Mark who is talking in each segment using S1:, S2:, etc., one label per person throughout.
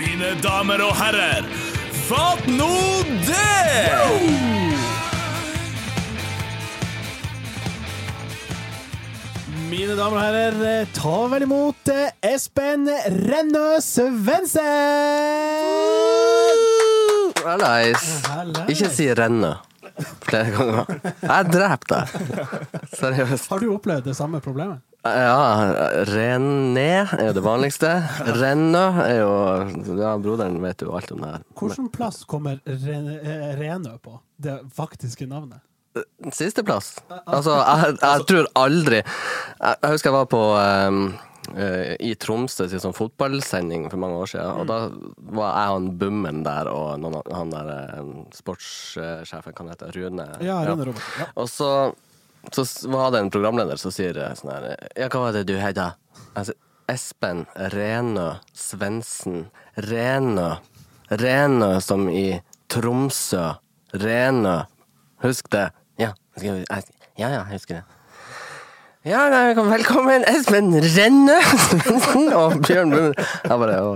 S1: mine damer og herrer. Fatt nå det!
S2: Mine damer og herrer, eh, ta vel imot eh, Espen Rennø Svendsen!
S3: Hallais. Ikke si renne flere ganger. Jeg dreper deg. Seriøst.
S2: Har du opplevd det samme problemet?
S3: Ja, René er jo det vanligste. Rennø er jo Ja, broderen vet jo alt om det her.
S2: Hvilken plass kommer Ren- eh, Renø på? Det faktiske navnet?
S3: Sisteplass. Altså, jeg, jeg tror aldri Jeg, jeg husker jeg var på ehm, eh, i Tromsø sin sånn fotballsending for mange år siden, og da var jeg og han Bummen der, og noen, av- han der eh, sportssjefen, kan hete Rune.
S2: Ja, Rune Robert. Ja.
S3: Og så, så s- var det en programleder som sier eh, sånn her Ja, hva var det du het, da? Jeg sier, Espen Renø Svendsen. Renø. Renø som i Tromsø. Renø. Husk det. Ja, skal vi- jeg- ja, ja, jeg husker det. Ja, nei, velkom- velkommen, Espen Rennø Svendsen og Bjørn Bumund. Jeg bare «Å,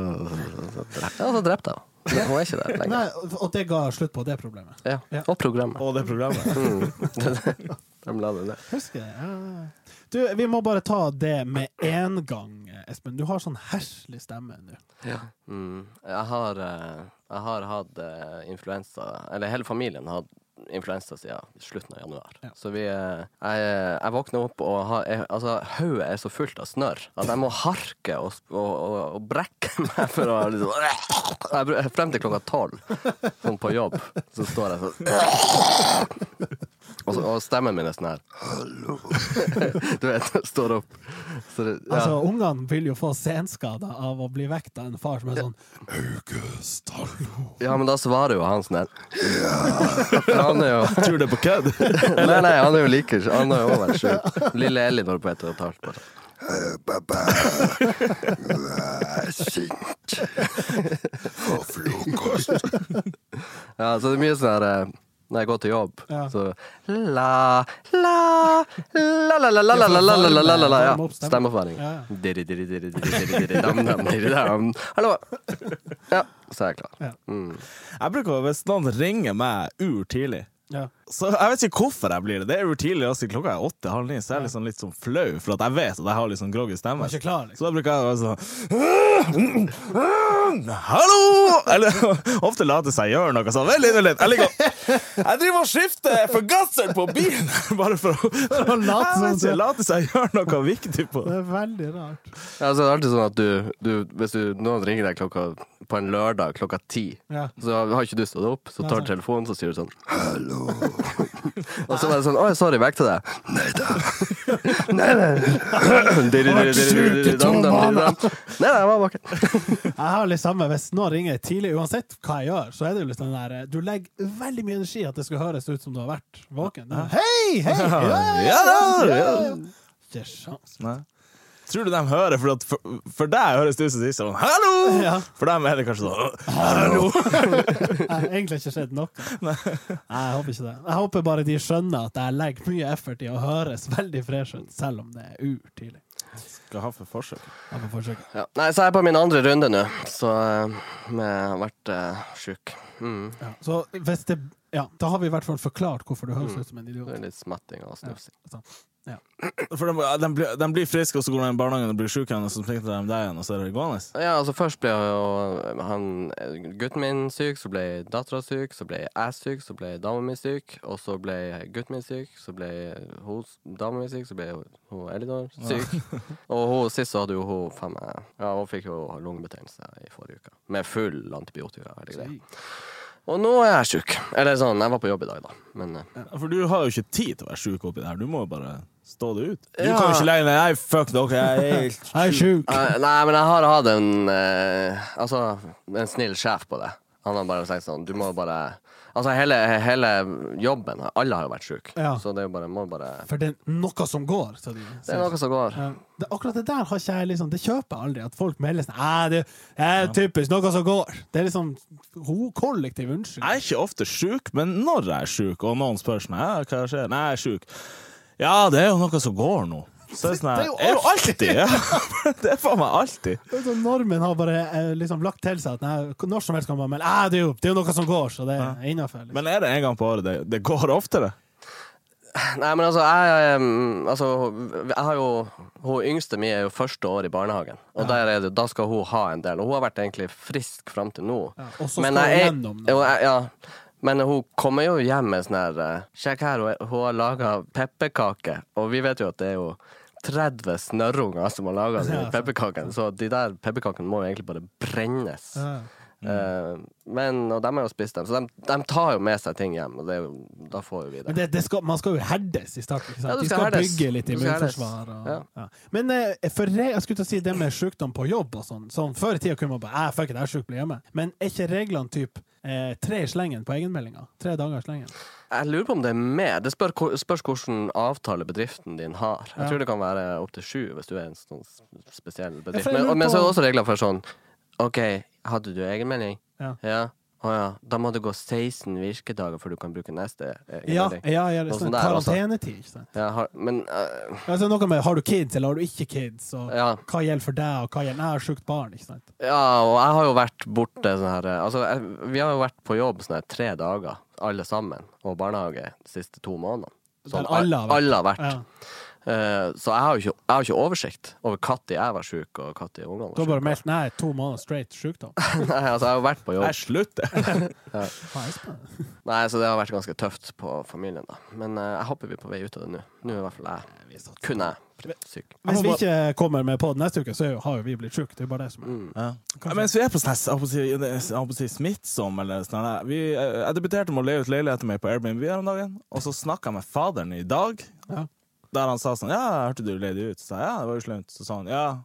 S3: Ja, så drepte jeg henne. Hun er ikke der lenger.
S2: Nei, og det ga slutt på det problemet.
S3: Ja.
S2: Ja.
S3: Og programmet. Mm.
S1: Og det programmet.
S3: De la det ned.
S2: Husker jeg. Ja. Du, vi må bare ta det med en gang, Espen. Du har sånn herselig stemme nå.
S3: Mm. Jeg har, eh, jeg har hatt eh, influensa, eller hele familien har hatt influensa siden slutten av januar.
S2: Ja.
S3: Så vi, eh, jeg, jeg våkner opp, og har, jeg, altså, hodet er så fullt av snørr at jeg må harke og, sp- og, og, og brekke meg for å liksom jeg, bru- Frem til klokka tolv, sånn på jobb, så står jeg sånn og, så, og stemmen min er sånn her Du vet, står opp. Så det, ja.
S2: Altså, Ungene vil jo få senskader av å bli vekt av en far som er sånn August, hallo!
S3: ja, men da svarer jo han sånn her. Han er jo
S1: Tror det på kødd?
S3: Nei, nei, han er jo like Han har jo også vært sjuk. Lille Elinor på ett og et halvt. Bare. Ja, så det er mye sånn her eh, Når jeg går til jobb,
S2: Ja.
S3: så la, la, la, la, la, la, la, la, la, la, la, la, la,
S2: Varme
S3: ja.
S2: opp stemmen.
S3: Stemmeoppvarming.
S2: Ja, ja.
S3: Dirri, dirri, dirri, dirri, dirri, dirri, dam, dam, dirri, dam. Hallo! Ja, så er jeg klar.
S2: Ja.
S1: Jeg bruker, Hvis noen ringer meg urtidlig
S2: Ja.
S1: så Jeg vet ikke hvorfor jeg blir det. Det er urtidlig. Altså, klokka er åtte-halv ni, så jeg er liksom litt sånn flau, for at jeg vet at jeg har litt sånn groggy stemme.
S2: Du er ikke klar, liksom.
S1: Så da bruker jeg å være sånn Hallo! Eller ofte later jeg gjøre noe sånn. Vent litt, vent litt. Jeg, ligger, jeg driver og skifter forgasseren på bilen! Bare for å
S2: å late
S1: Jeg vet
S2: som
S1: ikke, late seg gjøre noe viktig på.
S2: Det er veldig rart.
S3: Ja, så er det alltid sånn at du, du Hvis du, noen ringer deg klokka, på en lørdag klokka ti,
S2: Ja.
S3: så har ikke du stått opp, så tar du telefonen, så sier du sånn Hallo. Og så er det sånn Oi, sorry, vekk til deg. Nei da. Nei, nei. Dirri, dirri, dirri, dirri, dam, dam, dirri, dam. Nei, nei, jeg var bakken.
S2: Jeg har litt samme hvis noen ringer tidlig, uansett hva jeg gjør, så er det jo litt den der eh, Du legger veldig mye energi i at det skal høres ut som du har vært våken. Det er, Hei, hei! Ja,
S1: Ja da! Ja.
S2: Ikke sjans.
S1: Nei. Tror du de hører? For, at for, for deg høres det ut som sist sånn 'hallo'!
S2: Ja.
S1: For dem er det kanskje sånn 'hallo'.
S2: Jeg har egentlig ikke skjedd noe. Nei, jeg håper ikke det. Jeg håper bare de skjønner at jeg legger mye effort i å høres veldig fresh ut, selv om det er urtidlig.
S1: Skal ha for forsøk.
S2: Jeg får forsøke.
S3: Ja. Nei, så er jeg på min andre runde nå, så eh, men jeg har vært uh, sjuk. Mm.
S2: Ja. Så hvis det Ja, da har vi i hvert fall forklart hvorfor du høres ut som en idiot.
S3: Det er Litt smatting og snufsing.
S2: Sånn. Ja.
S1: For de, de, blir, de blir friske, og så går de i barnehagen og blir syke igjen, og så smitter de deg igjen, og så er det gående.
S3: Ja, altså først ble jo han, eh, gutten min syk, så ble dattera syk, så ble jeg syk, så ble dama mi syk, og så ble gutten min syk, så ble hun s- dama mi syk, så ble hun- hun Elinor syk. Og hun sist så hadde jo hun faen meg Ja, hun fikk jo lungebetennelse i forrige uke. Med full antibiotika. og hele greia. Og nå er jeg sjuk. Eller sånn, jeg var på jobb i dag, da. Men eh,
S1: For du har jo ikke tid til å være syk oppi det her, du må jo bare stå det ut. Du
S3: Ja.
S1: kan jo ikke legge deg Nei, fuck dere, jeg er helt
S2: Jeg er sjuk!
S3: Eh, nei, men jeg har hatt en eh, Altså, en snill sjef på det. Han har bare sagt sånn Du må bare Altså, hele, hele jobben Alle har jo vært sjuke.
S2: Ja.
S3: Så det er jo bare Må bare
S2: For det er noe som går, sa de.
S3: Det er noe som går.
S2: Ja. Det, akkurat det der har ikke jeg liksom Det kjøper jeg aldri, at folk melder sånn «Æ, det er typisk noe som går. Det er liksom ho- kollektiv unnskyldning.
S1: Jeg er ikke ofte sjuk, men når jeg er sjuk, og noen spør sånn «Ja, Hva skjer? Nei, jeg er sjuk. Ja, det er jo noe som går nå. Så er det sånn her
S2: Det er jo
S1: Er jo alltid! Ja. Det er faen meg alltid.
S2: Så sånn, Normen har bare eh, liksom lagt til seg at nei, når som helst kan man melde «Ah, det, er jo- det er jo noe som går, så det er innafor. Liksom.
S1: Men er det en gang på året det, det går oftere?
S3: Nei, men altså, jeg, em, altså jeg har jo, Hun yngste mi er jo første år i barnehagen, og der er det, da skal hun ha en del. Og hun har vært egentlig frisk fram til nå.
S2: Ja, og så skal hun gjennom det.
S3: jo, jeg, ja, men hun kommer jo hjem med sånn her eh, Sjekk her, hun, hun har laga pepperkaker, og vi vet jo at det er jo 30 snørrunger som har laga de
S2: Ja, sant.
S3: pepperkakene, så de der pepperkakene må jo egentlig bare brennes.
S2: Ja.
S3: Eh, men, og de har jo spist dem, så de, de tar jo med seg ting hjem, og det, er jo- da får jo vi det.
S2: Men det, det skal, man skal jo herdes i starten. Ikke sant?
S3: Ja, du
S2: De
S3: skal
S2: skal
S3: herdes.
S2: bygge litt
S3: Du skal
S2: immunforsvar.
S3: herdes.
S2: Og, ja. Men eh, for re, jeg skulle til å si det med sykdom på jobb og sånn. Sånn, Før i tida kunne man bare «Æ, fuck it, jeg er syk, bli hjemme. Men er ikke reglene typ eh, tre i slengen på egenmeldinga? Tre dager i slengen?
S3: Jeg lurer på om det er mer. Det spør, spørs hvilken avtale bedriften din har. Jeg
S2: Ja.
S3: tror det kan være opptil sju hvis du er en sånn spesiell
S2: Ja,
S3: bedrift.
S2: for jeg
S3: Men,
S2: lurer
S3: men
S2: på-
S3: så er det også regler for sånn OK, hadde du egenmelding?
S2: Ja.
S3: Ja. Å ja. Da må det gå 16 virkedager før du kan bruke neste eh,
S2: Ja,
S3: egenmelding.
S2: ja, ja det
S3: Noe
S2: er sånn
S3: sånt der altså. også.
S2: karantenetid. Ikke sant?
S3: Ja, har, men eh,
S2: Altså, noe med har du kids eller har du ikke kids, og
S3: Ja.
S2: hva gjelder for deg, og hva gjelder jeg har sjukt barn. ikke sant?
S3: Ja, og jeg har jo vært borte sånn her eh, Altså, jeg, vi har jo vært på jobb sånn her tre dager, alle sammen, og barnehage de siste to månedene.
S2: Der
S3: Sånn,
S2: alle har vært.
S3: Alle har vært.
S2: Ja.
S3: Eh, så jeg har jo ikke, jeg har ikke oversikt over når jeg var sjuk, og når ungene
S2: Da
S3: var
S2: bare meldt nei, to måneder straight sykdom.
S3: sjuke. Nei, altså, jeg har jo vært på jobb.
S1: Nei, slutt det!
S2: Faen, jeg er spent.
S3: Nei, Så det har vært ganske tøft på familien, da. Men eh, jeg håper vi er på vei ut av det nå. Nå er i hvert fall jeg Kun jeg er syk.
S2: Hvis vi ikke kommer med pod neste uke, så er jo, har jo vi blitt sjuke. Det er jo bare det som er.
S1: Ja. Mens vi er på sånn her, jeg holdt på å si- jeg holdt på å si smittsom eller sånn her, vi, eh, Jeg debuterte med å leie ut leiligheten min på Airbnb her om dagen, og så snakka jeg med faderen i dag,
S2: Ja.
S1: der han sa sånn Ja, hørte du leide ut? Så sa jeg ja, det var jo slemt. Så sa han ja.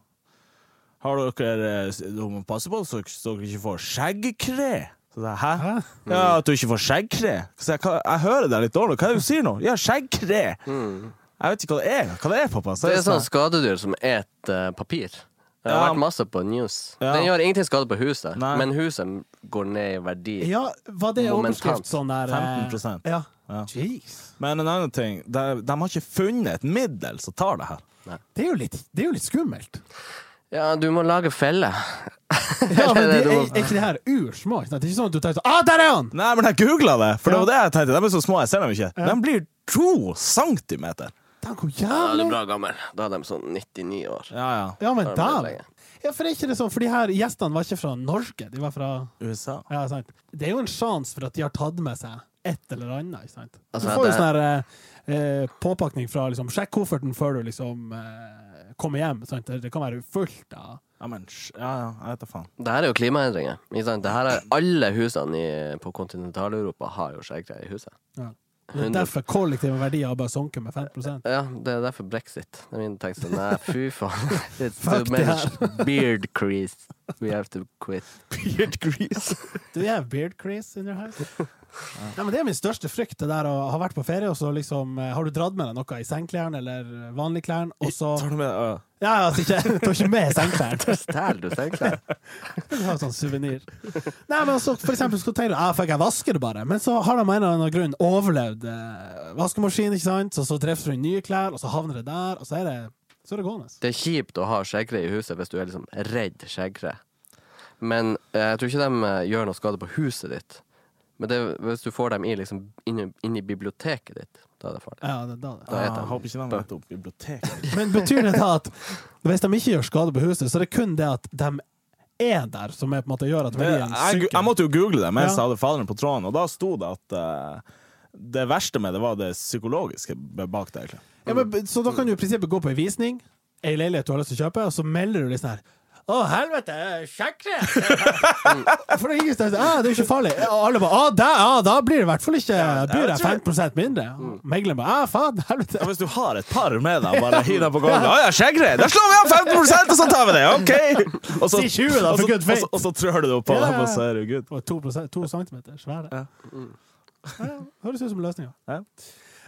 S1: Har dere eh, s- Dere må passe på så så dere ikke får skjeggkre. Så sa jeg hæ?
S2: Hæ?
S1: Ja, at du ikke får skjeggkre. Så jeg, «Hva- jeg hører deg litt dårlig. Hva er det du sier nå? Ja, skjeggkre. Jeg vet ikke hva det er. Hva det er, pappa? Så
S3: Det
S1: jeg
S3: er sånn skadedyr som et eh, papir. Det har
S1: Ja.
S3: vært masse på news.
S1: Ja.
S3: Den gjør ingenting skade på huset,
S1: Nei.
S3: men huset går ned i verdi.
S2: Ja, var det
S3: Momentant.
S2: overskrift sånn der eh,
S1: 15%.
S2: Ja.
S1: Ja.
S2: Jeez.
S1: Men en annen ting, de, de har ikke funnet et middel som tar det her.
S2: Det er jo litt, det er jo litt skummelt.
S3: Ja, du må lage felle.
S2: Ja, men det,
S3: det
S2: er,
S3: du må-
S2: er ikke det her ursmå? ikke sant? Det er ikke sånn at du tenker sånn Ah, der er han!
S1: Nei, men jeg googla det, for
S2: Ja.
S1: det var det jeg tenkte. De er så små, jeg ser dem ikke. De blir to centimeter.
S2: Tenk hvor
S3: Ja, du
S2: jævlig
S3: er bra gammel. Da er de sånn 99 år.
S1: Ja, ja.
S2: Ja, men
S3: Da er det
S2: dæven!
S3: lenge.
S2: Ja, for er ikke det sånn, for de her gjestene var ikke fra Norge, de var fra
S1: USA.
S2: Ja, sant. Det er jo en sjanse for at de har tatt med seg et eller annet, ikke sant. Du
S3: Altså,
S2: får jo
S3: det-
S2: sånn her eh, eh, påpakning fra liksom Sjekk kofferten før du liksom eh, kommer hjem, sant. Det- Det kan være fullt av
S1: Ja, men sj- ja, ja, jeg vet da faen.
S3: Det her er jo klimaendringer. Ikke sant? Det her er, alle husene i, på kontinentaleuropa har jo skjeggreier i huset.
S2: ja. Det er derfor kollektive verdier har bare sunket med 5
S3: Ja, det er derfor brexit. Det er min tekst. Nei, fy faen. It's
S2: Fuck
S3: too many beard crease. We have to quit.
S1: Beard grease.
S2: Do you have beard crease in your house? Nei, men det er min største frykt, det der å ha vært på ferie, og så liksom eh, Har du dratt med deg noe i sengeklærne eller vanlige klærne, og så
S1: Tar du med ja.
S2: Ja, altså ikke, tar ikke med sengeklær.
S3: Stjel du sengeklær?
S2: Du har sånn suvenir. Nei, men altså, for eksempel så tenker du ah, fuck, jeg vasker det bare, men så har de av en eller annen grunn overlevd eh, vaskemaskin, ikke sant, så så treffer du i nye klær, og så havner det der, og så er det, så er det gående.
S3: Det er kjipt å ha skjeggre i huset hvis du er liksom redd skjeggre. Men eh, jeg tror ikke de eh, gjør noe skade på huset ditt. Men det, er hvis du får dem i, liksom, inn, i- inn i biblioteket ditt, da er det farlig.
S2: Ja, det, da, det.
S3: Da
S1: Ah, Jeg
S3: heter
S1: håper ikke de
S3: Bø.
S1: møter opp i biblioteket.
S2: Men betyr det da at hvis de ikke gjør skade på huset, så er det kun det at de er der, som er på en måte gjør at
S1: Det-
S2: verdien
S1: Jeg, jeg
S2: synker?
S1: måtte jo google det mens
S2: Ja.
S1: jeg hadde faderen på tråden, og da sto det at eh, det verste med det var det psykologiske bak det, egentlig.
S2: Ja, men, så da kan du i prinsippet gå på en visning, ei leilighet du har lyst til å kjøpe, og så melder du litt sånn her å, helvete! Sjekk det! For det er ingen som sier «Ah, det er ikke farlig. Og alle bare Å, da, ja, da blir det i hvert fall ikke Blir det 15 mindre? Og Megleren bare Å, faen,
S1: Ja,
S2: helvete.
S1: hvis du har et par med deg, bare hiv dem på gulvet. Ja, ja, skjeggre! Da slår vi av 15 og så tar vi det! OK! Og så,
S2: Si 20 da,
S1: og
S2: for
S1: så-
S2: good faith.
S1: og så- Og så trør du det opp på
S2: Ja, ja,
S1: dem, og
S2: ja.
S1: så er du good.
S2: Og 2, to centimeter svære.
S1: Ja.
S2: Ja, høres ut som løsninga.
S1: Ja.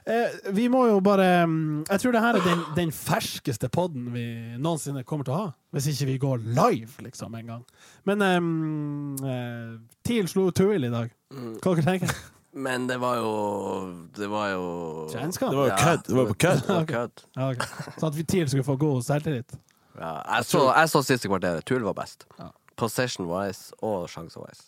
S2: Eh, vi må jo bare mm, Jeg tror det her er den, den ferskeste podden vi noensinne kommer til å ha. Hvis ikke vi går live, liksom, mm, eh, en gang. Men um, eh, TIL slo Tuil i dag. Hva dere tenker
S3: Men det var jo Det var jo
S2: Kjennskap?
S1: Det var jo kødd. Det var på kødd.
S3: Det var kødd.
S2: Ja, ok. Sånn at vi TIL skulle få god selvtillit.
S3: Ja, jeg, så, jeg så siste kvarteret. Tull var best.
S2: Ja.
S3: Possession-wise og sjanse-wise.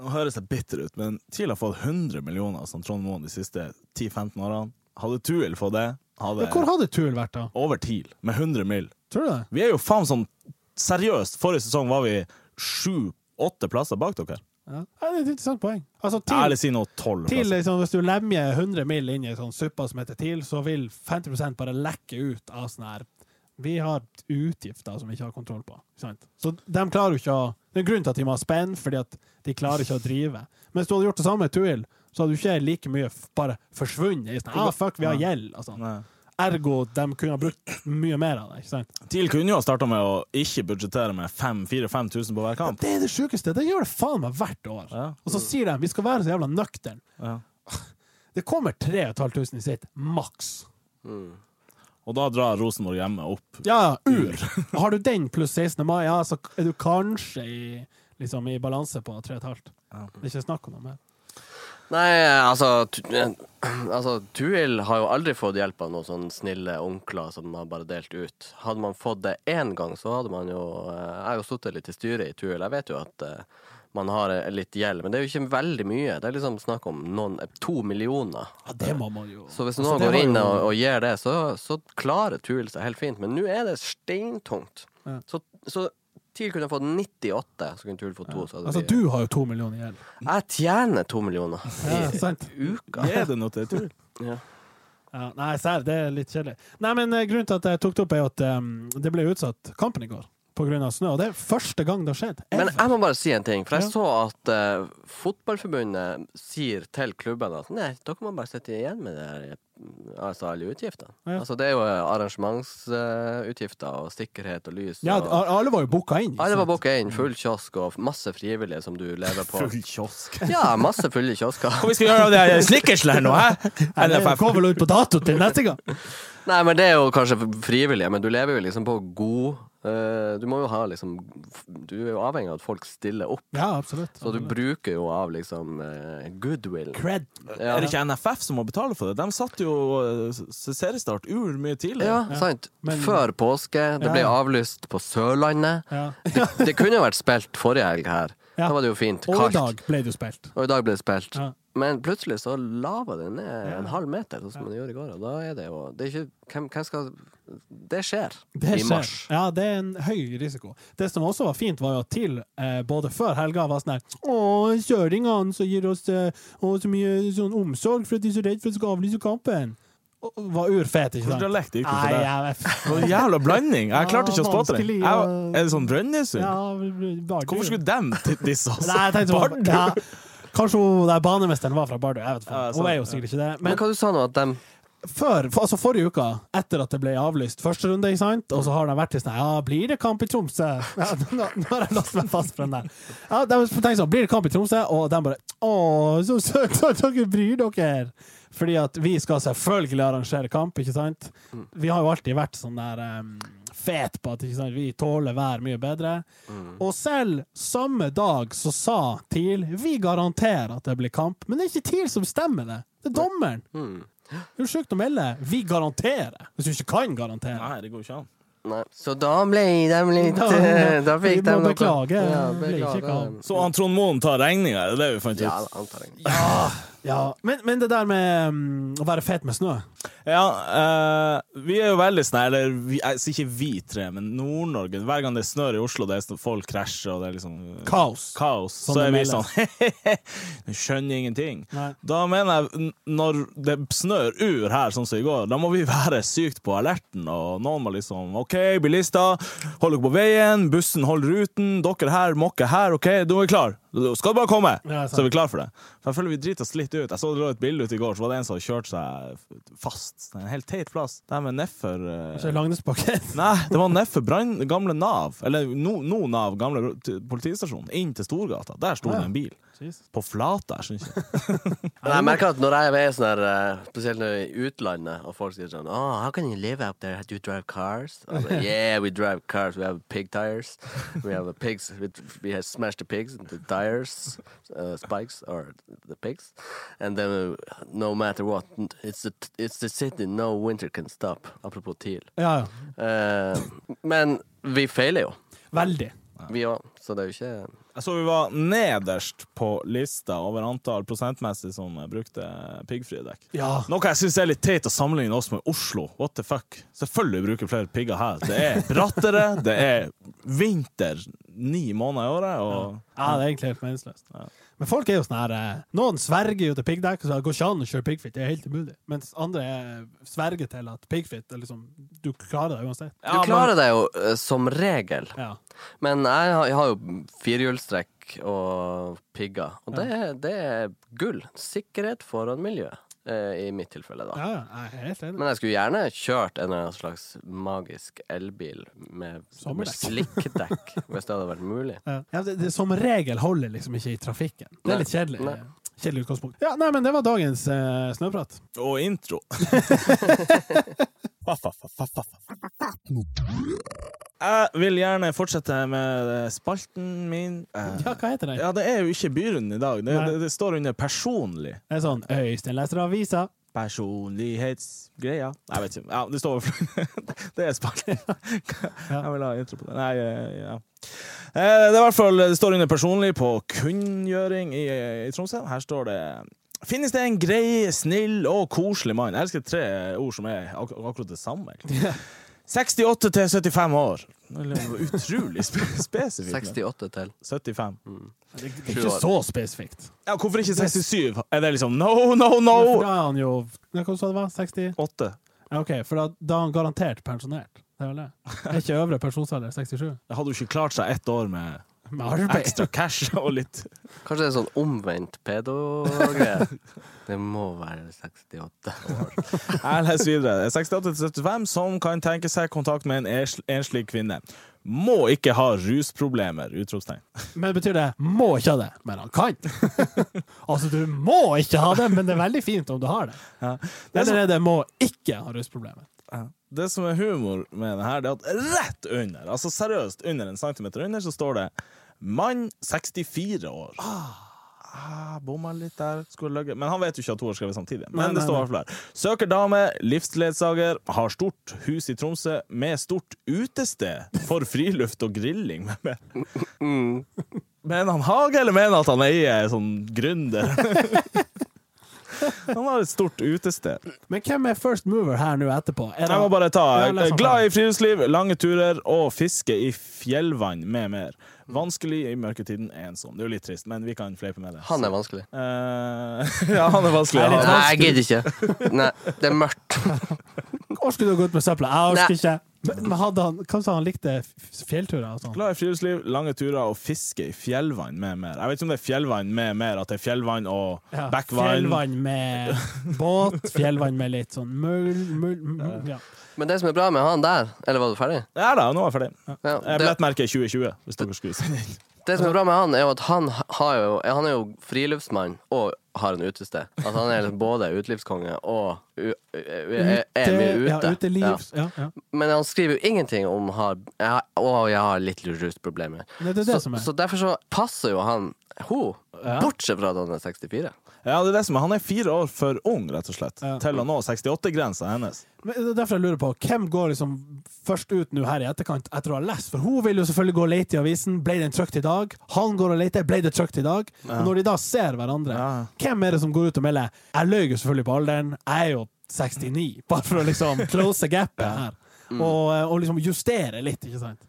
S1: Nå høres jeg bitter ut, men TIL har fått 100 millioner som Trond Moen de siste 10-15 årene. Hadde TUL fått det, hadde
S2: Ja, hvor hadde TUL vært, da?
S1: over TIL med 100 mill.
S2: Tror du det?
S1: Vi er jo faen sånn seriøst. Forrige sesong var vi sju-åtte plasser bak dere.
S2: Ja. Ja, det er et interessant poeng. Altså, TIL,
S1: Ærlig si nå tolv
S2: TIL
S1: plasser.
S2: liksom, Hvis du lemjer 100 mill. inn i en sånn suppe som heter TIL, så vil 50 bare lekke ut av sånn her Vi har utgifter som vi ikke har kontroll på. ikke Sant? Så de klarer jo ikke å Det er en grunn til at de må ha spenn, fordi at de klarer ikke å drive. Men hvis du hadde gjort det samme med TUL, så hadde du ikke like mye f- bare forsvunnet. i Sånn, ah, fuck, vi har gjeld. og sånn.
S1: Nei.
S2: Ergo de kunne ha brukt mye mer av det. ikke sant?
S1: TIL kunne jo ha starta med å ikke budsjettere med 4000-5000 på hver kamp.
S2: Det er det sjukeste. Det gjør det faen meg hvert år.
S1: Ja.
S2: Og så sier de vi skal være så jævla nøkterne.
S1: Ja.
S2: Det kommer 3500 i sitt, maks.
S1: Og da drar Rosenborg hjemme opp.
S2: Ja, ja, ur! Har du den pluss 16. mai, ja, så er du kanskje i, liksom, i balanse på 3,5. Det er ikke snakk om noe mer.
S3: Nei, altså, tu, eh, altså Tuil har jo aldri fått hjelp av noen sånne snille onkler som har bare delt ut. Hadde man fått det én gang, så hadde man jo eh, Jeg har jo sittet litt i styret i Tuil. Jeg vet jo at eh, man har eh, litt gjeld, men det er jo ikke veldig mye. Det er liksom snakk om noen, eh, to millioner.
S2: Ja, det må man jo
S3: Så hvis
S2: Altså,
S3: noen
S2: det
S3: går
S2: var
S3: inn
S2: jo-
S3: og, og gir det, så, så klarer Tuil seg helt fint. Men nå er det steintungt.
S2: Ja.
S3: Så, så TIL kunne fått 98, så kunne Tuil fått to. Så hadde
S2: Altså,
S3: vi-
S2: du har jo to millioner i gjeld.
S3: Jeg tjener to millioner i
S2: Ja, sant?
S3: uka.
S1: Er det noe til TUL?
S3: Ja.
S2: Ja, nei, serr, det er litt kjedelig. Nei, men eh, grunnen til at jeg tok det opp, er jo at eh, det ble utsatt kampen i går på grunn av snø. Og det er første gang det har skjedd.
S3: Men
S2: ever.
S3: jeg må bare si en ting, for
S2: Ja.
S3: jeg så at eh, Fotballforbundet sier til klubben at nei, dere må bare sitte igjen med det her, eh, altså alle utgiftene.
S2: Ja.
S3: Altså, det er jo arrangementsutgifter og sikkerhet og lys.
S2: Ja,
S3: og,
S2: alle var jo booka inn. ikke
S3: ja, det var
S2: sant?
S3: booka inn, full kiosk og masse frivillige som du lever på.
S1: Full kiosk.
S3: Ja, masse fulle kiosker.
S1: Hva vi skal gjøre av det her snickersen her nå, hæ?
S2: Nei, Det
S1: NFF.
S2: går vel ut på dato til neste gang.
S3: Nei, men det er jo kanskje frivillige, men du lever jo liksom på god eh, Du må jo ha liksom Du er jo avhengig av at folk stiller opp,
S2: Ja, absolutt.
S3: så du bruker jo av liksom eh, goodwill.
S2: Cred.
S3: Ja.
S1: Er det ikke NFF som må betale for det? De satt jo eh, s- seriestart ur mye tidligere.
S3: Ja, sant.
S2: Men-
S3: Før påske. Det ble
S2: Ja.
S3: avlyst på Sørlandet.
S2: Ja.
S3: Det, det kunne jo vært spilt forrige helg her.
S2: Ja.
S3: Da var det jo fint.
S2: Og i
S3: Kaldt.
S2: dag ble det jo spilt.
S3: Og i dag ble det spilt.
S2: Ja.
S3: Men plutselig så lava det ned en halv meter, sånn som
S2: Ja.
S3: det gjorde i går. Og da er det jo det er ikke, hvem, hvem skal Det skjer
S2: Det
S3: i
S2: skjer.
S3: mars.
S2: Ja, det er en høy risiko. Det som også var fint, var jo at TIL eh, både før helga var sånn her Å, kjøringene som gir oss eh, å, så mye sånn omsorg for at de er så redd for at de skal avlyse kampen. Og, og var urfet, ikke
S1: Hvor
S2: sant?
S1: dialekt gikk det
S2: Nei,
S1: for deg?
S2: jeg vet
S1: Det var en jævla blanding. Jeg klarte ikke å spotte det.
S2: vanskelig,
S1: Jeg,
S2: ja.
S1: var- er det sånn Brønnøysund?
S2: ja, Bardu.
S1: Hvorfor skulle dem t- disse oss?
S2: Nei, jeg tenkte sånn,
S1: Bardu?
S2: ja, Kanskje hun der banemesteren var fra Bardu. Jeg vet ikke.
S1: Ja, sånn,
S2: Hun er jo
S1: ja.
S2: sikkert ikke det.
S3: Men
S2: Men
S3: hva du sa nå, at dem
S2: før, for, altså forrige uka, etter at det ble avlyst første runde, ikke sant? og så har de vært til sånn Ja, blir det kamp i Tromsø? Ja, nå, nå har jeg låst meg fast for den der. Ja, de tenkte sånn, blir det kamp i Tromsø? Og de bare Å, så søkt at dere bryr dere! Fordi at vi skal selvfølgelig arrangere kamp, ikke sant? Vi har jo alltid vært sånn der um, fet på at ikke sant? vi tåler vær mye bedre. Og selv samme dag så sa TIL vi garanterer at det blir kamp, men det er ikke TIL som stemmer det. Det er dommeren.
S3: hmm.
S2: Det er jo sjukt å melde. Vi garanterer, hvis du ikke kan garantere.
S1: Nei, det går ikke an.
S3: Nei. Så da ble de litt
S2: Da-
S3: eh, Da
S2: vi
S3: fikk de
S2: må
S3: noe-
S2: beklage,
S3: Ja,
S2: det ble ikke kamp.
S1: Så han Trond Moen tar regninga, er det det vi fant ut?
S3: Ja,
S1: Ja,
S3: antar jeg.
S2: Ja, men, men det der med mm, å være fet med snø
S1: eh, vi er jo veldig sånn her, eller vi, jeg sier ikke vi tre, men Nord-Norge. Hver gang det snør i Oslo, det er sånn folk krasjer, og det er liksom eh,
S2: Kaos.
S1: kaos,
S2: Sånn
S1: så er vi
S2: det melder.
S1: sånn «Hehehe, Jeg skjønner ingenting.
S2: Nei.
S1: Da mener jeg, n- når det snør ur her, sånn som i går, da må vi være sykt på alerten. Og noen må liksom OK, bilister, hold dere på veien, bussen holder ruten, dere her, mokke her, OK, da er vi klar. Da Skal du bare komme,
S2: Ja, sant.
S1: så er vi klar for det. For jeg føler vi driter oss litt ut. Jeg så det lå et bilde ute i går, så var det en som kjørte seg fast. En helt teit plass. Det her med nedfor eh,
S2: Så er Langnesbakken.
S1: Nei, det var nedfor brann- gamle Nav, eller nå no, Nav, gamle t- politistasjon, inn til Storgata. Der sto det en bil.
S2: Jesus.
S1: På flata, jeg skjønner ikke.
S3: Men jeg merker at når jeg er med i sånn her, eh, spesielt når jeg er i utlandet, og folk sier sånn oh, how can you live up there? Do you drive cars? Og så, yeah, we drive cars. We have pig tires. We have the pigs. We, we have smashed the pigs, the tires, uh, spikes, or the pigs. And then uh, no matter what, it's the, it's the city no winter can stop. Apropos TIL.
S2: Ja, ja.
S3: Eh, men vi feiler jo,
S2: Veldig.
S3: vi òg. Så det er jo ikke
S1: Jeg så vi var nederst på lista over antall prosentmessig som brukte piggfrie dekk.
S2: Ja.
S1: Noe jeg syns er litt teit å sammenligne oss med Oslo. What the fuck? Selvfølgelig bruker flere pigger her. Det er brattere, det er vinter ni måneder i året, og
S2: Ja, det er egentlig helt meningsløst. Men folk er jo sånn her eh, Noen sverger jo til piggdekk og sier det går ikke an å kjøre piggfritt, det er helt umulig. Mens andre er- sverger til at piggfritt er liksom Du klarer det uansett.
S3: Du klarer deg jo eh, som regel.
S2: Ja.
S3: Men jeg har, jeg har jo firehjulstrekk og pigger, og det, er- det er gull. Sikkerhet foran miljø, eh, i mitt tilfelle, da.
S2: Ja, ja, jeg er helt enig.
S3: Men jeg skulle gjerne kjørt en eller annen slags magisk elbil med, med
S2: Sommerdekk.
S3: slikkdekk, hvis det hadde vært mulig.
S2: Ja. Ja, det, det, som regel holder liksom ikke i trafikken. Det
S3: Nei.
S2: er litt kjedelig.
S3: Nei.
S2: Kjedelig utgangspunkt. Ja, nei, men det var dagens eh, snøprat.
S1: og intro. Jeg vil gjerne fortsette med spalten min. Eh,
S2: Ja, hva heter det?
S1: Ja, det er jo ikke Byrunden i dag. Det,
S2: Nei.
S1: det, det står under personlig.
S2: Det er sånn Øystein leser avisa.
S1: Personlighetsgreia. Nei, Jeg vet ikke. Ja, det står Det er spalten. Jeg vil ha intro på det. Nei, eh, ja. Eh, Det er i hvert fall det står under personlig på kunngjøring i, eh, i Tromsø. Her står det Finnes det en grei, snill og koselig mann? Jeg elsker tre ord som er ak akkurat det samme. egentlig. 68 til 75 år. Det er Utrolig spe spesifikt.
S3: 68 til.
S1: 75.
S2: Det er ikke så spesifikt.
S1: Ja, hvorfor ikke 67? Mm. Er det liksom no, no, no?
S2: Da er han jo Hva sa du det var? 60?
S1: 8.
S2: Ja, OK, for da, da er han garantert pensjonert. Det er vel det. Er ikke øvre pensjonsalder 67?
S1: Det hadde jo ikke klart seg ett år med
S2: Med arbeid.
S1: ekstra cash og litt
S3: Kanskje det er sånn omvendt pedo-greie. Det må være 68 år.
S1: Jeg leser videre. 68-75 som kan tenke seg kontakt med en ens- enslig kvinne. Må ikke ha rusproblemer! Utropstegn.
S2: Men betyr det 'må ikke ha det', men han kan? altså, du må ikke ha det, men det er veldig fint om du har det.
S1: Ja. Det,
S2: Eller
S1: som,
S2: er det 'må ikke ha rusproblemer'?
S1: ja. det som er humor med det her, det er at rett under, altså seriøst under en centimeter under, så står det 'mann 64 år'. Ah, Bomma litt der. Skulle løgge. Men han vet jo ikke at hun har skrevet samtidig. Men det
S2: Nei, nei,
S1: står i
S2: nei.
S1: hvert fall her. Søker dame, livsledsager, har stort hus i Tromsø med stort utested for friluft og grilling. med mer. Mener han hage, eller mener han at han eier en sånn gründer? Han har et stort utested.
S2: Men hvem er first mover her nå etterpå? Er det-
S1: Jeg må bare ta eh,
S2: Ja, les han
S1: Glad i friluftsliv, lange turer og fiske i fjellvann med mer. Vanskelig i mørketiden, ensom. Det er jo litt trist, men vi kan fleipe med det.
S3: Han er vanskelig.
S1: Eh, ja, han er vanskelig.
S2: Nei, litt
S1: Han.
S3: Nei, jeg gidder ikke. Nei, det er mørkt.
S2: Orker du å gå ut med søpla? Jeg orker ikke. Men- Men hadde han, hva sa han likte f- fjellturer og sånn?
S1: Glad i friluftsliv, lange turer og fiske i fjellvann med mer. Jeg vet ikke om det er fjellvann med mer, at det er fjellvann og
S2: Ja,
S1: backvann.
S2: Fjellvann med båt, fjellvann med litt sånn mul... mul, mul ja.
S3: Men det som er bra med han der Eller var du ferdig?
S1: Ja da, nå er jeg ferdig.
S3: Ja,
S1: Eh,
S3: det,
S1: Billettmerket er 2020, hvis dere skulle sende inn.
S3: Det som er bra med han, er jo at han, har jo, han er jo friluftsmann og har en utested. At han er liksom både utelivskonge og u, u, er, Eh, er mye
S2: Ute- Ja,
S3: ute. Ja.
S2: uteliv. Ja. Ja,
S3: Men han skriver jo ingenting om har, jeg, har- å, jeg har litt rusproblemer.
S2: Det er det
S3: så,
S2: som er.
S3: så derfor så passer jo han hun, bortsett fra at han er 64.
S1: Ja, det er det som er. Han er fire år for ung, rett og slett,
S2: Ja.
S1: til å nå 68-grensa hennes.
S2: Men det er derfor jeg lurer på, hvem går liksom først ut nå her i etterkant etter å ha lest? For hun vil jo selvfølgelig gå og lete i avisen. Ble den trykt i dag? Han går og leter. Ble det trykt i dag? Og når de da ser hverandre,
S1: Ja.
S2: hvem er det som går ut og melder? Jeg løy jo selvfølgelig på alderen. Jeg er jo 69, bare for å liksom close gapet her. Og, og liksom justere litt, ikke sant?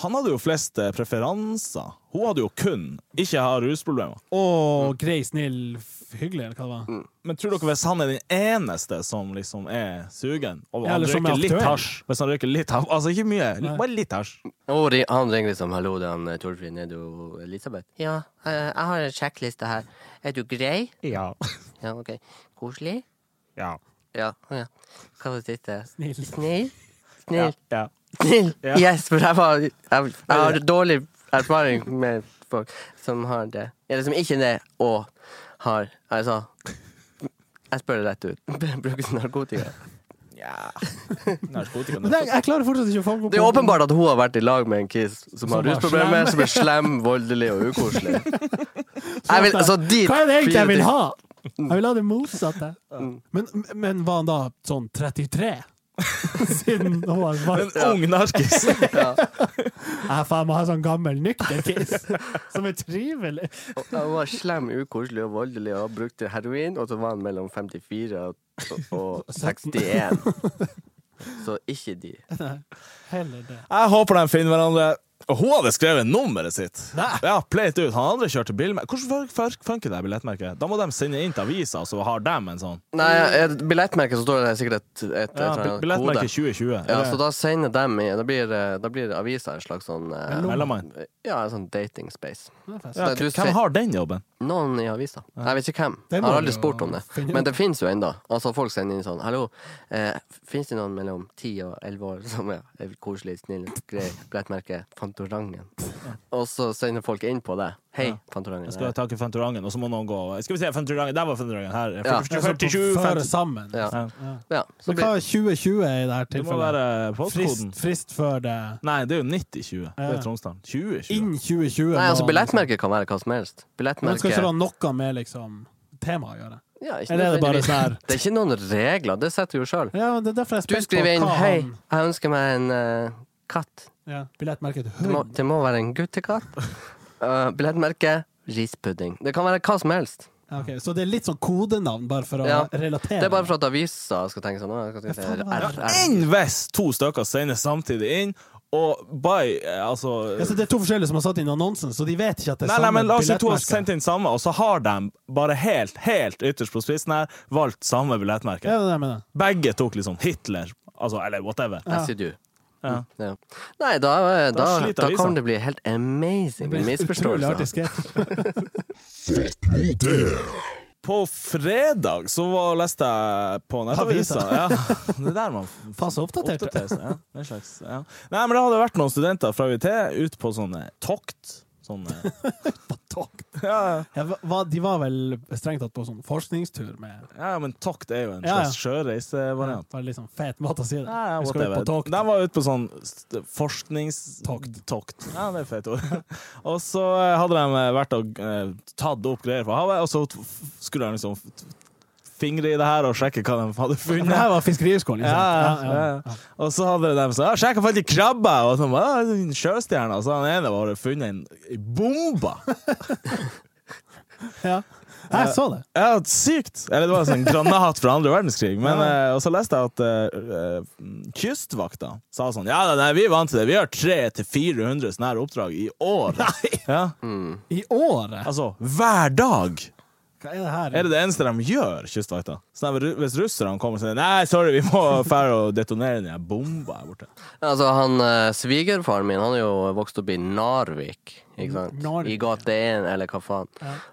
S1: Han hadde jo flest eh, preferanser. Hun hadde jo kun ikke ha rusproblemer.
S2: Og grei, snill, f- hyggelig, eller hva det var.
S1: Men tror dere hvis han er den eneste som liksom er sugen, og
S2: Ja,
S1: han
S2: eller som
S1: røyker
S2: er
S1: litt
S2: aktuell.
S1: hasj Hvis han røyker litt hasj, altså ikke mye,
S2: Nei.
S1: bare litt hasj.
S3: Og ri- han ringer liksom 'hallo, det er han eh, Torfinn, er du Elisabeth?'
S4: Ja, eh, jeg har en sjekkliste her. Er du grei?
S1: Ja.
S4: Ja, ok. Koselig?
S1: Ja.
S3: Ja.
S4: Å ja. Hva var det siste?
S2: Snill.
S4: Snill?
S1: ja.
S4: Snill?
S1: ja.
S4: Snill?
S1: Ja.
S3: Yes, for jeg, var, jeg, jeg har dårlig erfaring med språk som har det Eller som ikke det, og har Altså, jeg spør det rett ut. Brukes narkotika?
S1: Narkotika
S2: Men jeg, jeg klarer fortsatt ikke å fange opp
S3: Det er åpenbart at hun har vært i lag med en kis som har
S2: Som var slem.
S3: rusproblemer, som er slem, voldelig og ukoselig. Jeg vil, altså, dit
S2: Hva er det egentlig jeg vil
S3: flyr-
S2: ha? Jeg vil ha det motsatte.
S3: Mm.
S2: Men, men var han da sånn 33? Siden hun var valgt.
S1: En ung narkis.
S2: Jeg faen må ha sånn gammel nykter kiss som er trivelig.
S3: Og- og Hun var slem, ukoselig og voldelig og brukte heroin, og så var han mellom 54 og, og 61. Så ikke de.
S2: Heller det.
S1: Jeg håper de finner hverandre. Og hun hadde skrevet nummeret sitt.
S2: Nei.
S1: Ja, plate ut. Han andre kjørte bil med Hvordan fun- fun- funker det billettmerket? Da må de sende inn til avisa, og så har de en sånn.
S3: Nei, et billettmerke så står det sikkert et, et, et
S1: Ja,
S3: eller annet
S1: billettmerke
S3: kode.
S1: 2020.
S3: Ja, så da sender dem i Da blir, eh, da blir avisa en slags sånn eh,
S1: Mellommann.
S3: Ja, en sånn dating space.
S1: Ja,
S3: Nei, du
S1: hvem
S3: sier-
S1: har den jobben?
S3: Noen i avisa. Jeg vet ikke hvem.
S2: Det
S3: Jeg
S2: må du
S3: har aldri
S2: jo
S3: spurt om det.
S2: finne ut.
S3: Men det finnes jo ennå. Altså, folk sender inn sånn Hallo, eh, fins det noen mellom 10 og 11 år som er er koselig, snill, grei, billettmerke Fantorangen? Og så sender folk inn på det. Hei,
S1: Jeg skal
S3: Fantorangen.
S1: takke Fantorangen, og så må noen gå Skal vi se, Fantorangen, der var Fantorangen. Her.
S3: Ja.
S1: 47,
S2: sånn Føre
S1: 50.
S2: sammen.
S3: Ja.
S1: Ja.
S3: ja. Så
S2: Men hva
S3: blir,
S2: er 2020 i det her
S1: Det må
S2: tilfellet?
S1: være postkoden.
S2: Frist, frist før det
S1: Nei, det er jo 90-20. Det
S2: Ja.
S1: er Tromsdalen. 2020.
S2: Innen 2020.
S3: nei,
S2: må
S3: altså,
S2: han-
S3: billettmerke kan være hva som helst.
S2: Men skal
S3: Billettmerke
S2: ikke det ha noe med liksom tema å gjøre?
S3: ja, ikke
S2: Eller er det bare
S3: nødvendigvis.
S2: sånn her
S3: Det er ikke noen regler. Det setter du jo sjøl.
S2: Ja, men det er derfor jeg er
S3: Du
S2: spent
S3: skriver inn
S2: på hva
S3: 'Hei,
S2: han
S3: jeg ønsker meg en eh, katt'.
S2: ja, Billettmerket
S3: Det må,
S2: hund.
S3: det må være en guttekatt. Uh, billettmerke rispudding. Det kan være hva som helst.
S2: Ja, ok, så det er litt sånn kodenavn, bare for å
S3: Ja.
S2: relatere?
S3: Det er bare for at avisa skal tenke sånn. «Å, jeg skal skrive
S2: Ja, faen,
S3: RR.
S1: Enn hvis to stykker sender samtidig inn, og by eh, Altså
S2: ja, så det er to forskjellige som har satt inn annonsen, så de vet ikke at det er
S1: Nei, nei,
S2: samme
S1: men la oss si to har
S2: billettmerke.
S1: sendt inn samme, og så har de bare helt, helt ytterst på spissen her valgt samme billettmerke.
S2: Ja, det er det jeg mener.
S1: Begge tok liksom Hitler, altså, eller whatever.
S3: Jeg sier du.
S1: Ja.
S3: Ja. Nei, da, eh, da,
S1: sliter
S3: da
S1: avisa.
S3: kommer det bli helt amazing
S2: Utrolig artig
S3: misforståelser.
S2: sketsj.
S1: På fredag så var, leste jeg på nettavisa ja. Det er der man
S2: Faen, så oppdatert.
S1: oppdaterer seg. Ja. Det er slags, ja. Nei, men det hadde vært noen studenter fra UiT ut på sånne tokt. Sånn, eh, Sånne
S2: Tokt.
S1: ja,
S2: Ja, hva- de var vel strengt tatt på sånn forskningstur med
S1: ja, men tokt er jo en
S2: Ja, ja.
S1: slags sjøreisevariant.
S2: Bare litt sånn fet måte å si det.
S1: Ja, ja,
S2: Vi skal ut på
S1: whatever.
S2: tokt.
S1: De var ute på sånn st- forsknings...
S2: Tokt.
S1: Tokt. Ja, det er fett ord. og så eh, hadde de eh, vært og eh, tatt opp greier fra havet, og så f- f- skulle de liksom f- fingre i det her og sjekke hva de hadde
S2: For det her
S1: funnet.
S2: var liksom. Fiskerihøgskolen, ikke
S1: Ja,
S2: sant?
S1: ja, ja. Og så hadde de sånn «Ja, 'Sjekka faktisk krabbe!' Og sånn, «Ja, det er en sjøstjerne. Og så han ene var det funnet en en bombe!
S2: ja. Ja, Jeg så det.
S1: Ja, sykt! Eller det var en sånn granat fra andre verdenskrig. Men, eh, og så leste jeg at eh, eh, Kystvakta sa sånn Ja, nei, vi er vant til det. Vi har 300-400 sånne her oppdrag i år. Ja,
S2: I året?
S1: altså hver dag!
S2: Hva er det her?
S1: Er det det eneste de gjør, Kystvakta? Så når, hvis russerne kommer og sier Nei, sorry, vi må fære og detonere den her bomba her borte.
S3: Altså, han eh, svigerfaren min han er jo vokst opp i Narvik, ikke sant?
S2: Narvik,
S3: I gate 1, eller hva faen.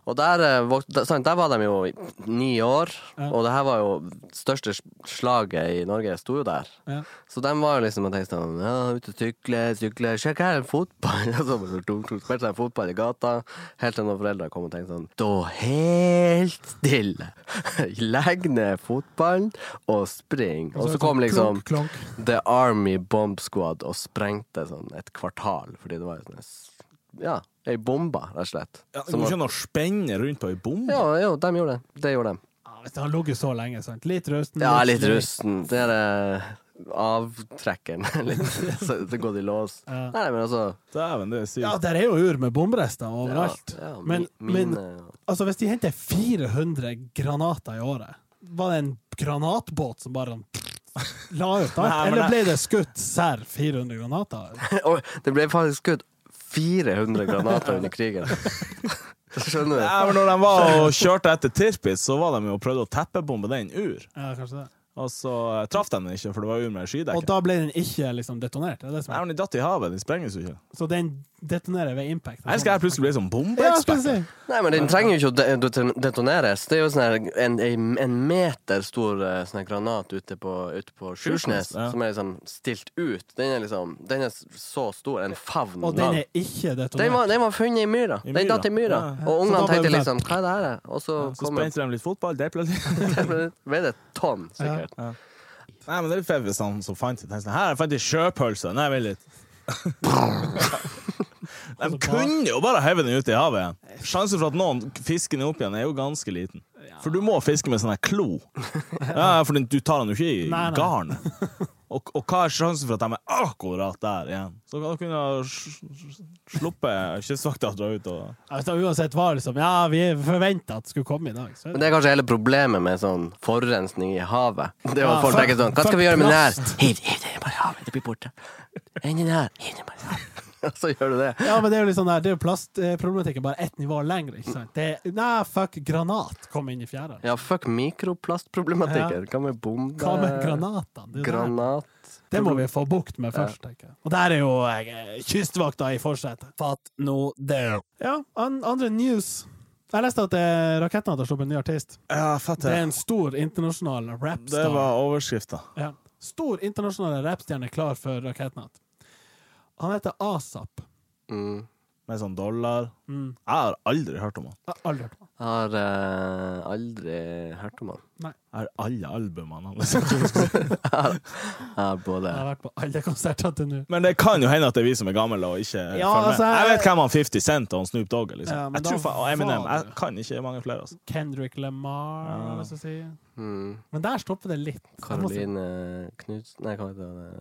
S3: Og der, eh, vok- der, sant, der var de jo i ni år, og det her var jo største s- slaget i Norge, sto jo der.
S2: Ja.
S3: Så de var jo liksom og tenkte sånn ja, Ute og sykle, sykle, sjekk her, en fotball! Og så bare tok- tok- spilte de fotball i gata, helt til noen foreldre kom og tenkte sånn Stå helt stille! Legg ned fotballen og spring! Og så kom liksom
S2: Klonk, klonk.
S3: The Army Bomb Squad og sprengte sånn et kvartal, fordi det var sånn Ja, ei bombe, rett og slett.
S1: Ja, det
S3: Som
S1: går
S3: var-
S1: ikke an å spenne rundt på ei bombe.
S3: ja, jo, de gjorde det. Det gjorde de.
S2: Ja, hvis det har ligget så lenge, sant. Litt rusten.
S3: Ja, litt rusten. Det er eh, avtrekkeren. litt. Så det går i lås.
S2: Ja.
S3: Nei, men altså
S1: Dæven, det er sykt.
S2: Ja, der er jo ur med bomberester overalt.
S3: Ja, ja,
S2: men,
S3: mi- eh,
S2: men
S3: mine, ja.
S2: altså, hvis de henter 400 granater i året, var det en granatbåt som bare la ut
S1: Nei,
S2: alt?
S1: men
S2: Eller
S1: det-
S2: ble det skutt sær 400 granater?
S3: Og eh, det ble faktisk skutt 400 granater under krigen. Skjønner du?
S1: Nei, men når de var og kjørte etter Tirpitz, så var de jo og prøvde å teppebombe den ur.
S2: Ja, kanskje det.
S1: Og så eh, traff de den ikke, for det var ur med
S2: Og
S1: skydekke.
S2: da ble den ikke liksom detonert? Det er det som
S1: Nei,
S2: er.
S1: men De datt i havet, de sprenges jo ikke.
S2: Så den detonerer ved impact.
S1: Her skal jeg plutselig bli sånn
S2: ja, skal jeg
S1: bombeekspert.
S2: si.
S3: Nei, men den trenger jo ikke å de- det- detoneres. Det er jo sånn her en, en, en meter stor eh, sånn her granat ute på, ute på Sjursnes,
S1: Sjursnes, ja.
S3: som er liksom stilt ut. Den er liksom Den er så stor. En favn.
S2: Og
S3: lang.
S2: den er ikke
S3: Den var,
S2: detonert.
S3: den var funnet i myra.
S1: I
S3: Den
S1: myra.
S3: datt i myra.
S1: Ja,
S2: Så da
S3: Og ungene
S2: ble
S3: tenkte
S2: det
S3: liksom Hva er det her? Og så,
S1: Så
S3: kom det
S1: spente de litt fotball. Det ble litt
S3: ble det et tonn, sikkert.
S1: Nei, men det er litt fett hvis han som fant det, tenkte sånn Her, jeg fant ei sjøpølse. Nei, vent litt.
S2: Altså,
S1: De kunne jo bare heve den ut i havet igjen. Sjansen for at noen fisker den opp igjen, er jo ganske liten. For du må fiske med sånn her klo. Ja, for den- du tar den jo ikke i
S2: Nei, nei.
S1: garnet. Og, og hva er sjansen for at de er akkurat der igjen? Så kan du kunne ha sl- sl- sluppet kystvakta dra ut og
S2: Ja, Hvis det uansett var liksom Ja, vi forventa at det skulle komme i dag. Så er
S3: Men
S2: det.
S3: det er kanskje hele problemet med sånn forurensning i havet. Det er jo
S2: Ja,
S3: at folk
S2: fuck-
S3: tenker sånn Hva
S2: fuck
S3: skal vi gjøre med den her?
S2: plast.
S3: Hiv hiv den bare i havet, det blir borte. Inn i den her. Hiv den bare i havet. Og så gjør du det.
S2: Ja, men det er jo litt sånn der, det er jo plastproblematikken bare ett nivå lenger. ikke sant? Det er, nei, fuck, granat kom inn i fjæra.
S3: Ja, fuck mikroplastproblematikken. Hva med bomber?
S2: Hva med granatene? Det, er jo det.
S3: Granat.
S2: det må vi få bukt med først, tenker jeg. Og der er jo eh, kystvakta i forsetet.
S5: Fatt nå det.
S2: Ja, an andre news. Jeg leste at eh, Rakettene hadde sluppet en ny artist.
S1: Ja, fett
S2: Det er en stor internasjonal
S1: Det
S2: rapstar.
S1: var overskrifta.
S2: Ja. Stor internasjonal rappstjerne klar for Rakettnatt. Han heter ASAP.
S3: Mm.
S1: Med sånn dollar.
S2: Mm.
S1: Jeg har aldri hørt om han.
S2: Jeg har aldri hørt på han.
S3: Har eh, aldri hørt om han.
S1: Jeg har alle albumene hans.
S3: Ja, både
S2: Jeg har vært på alle konserter til nå.
S1: Men det kan jo hende at det er vi som er gamle og ikke følger med.
S2: altså, jeg-
S1: jeg, vet hvem han 50 Cent og han Snoop Dogg er. Liksom.
S2: Ja, men
S1: jeg
S2: da
S1: tror faen, og Eminem.
S2: var det-
S1: Jeg kan ikke mange flere. Altså.
S2: Kendrick Lamar,
S1: Ja.
S2: hva skal jeg si.
S3: mm.
S2: Men der stopper det litt. Jeg, må si-
S3: Karoline Knuts... Nei, hva heter det?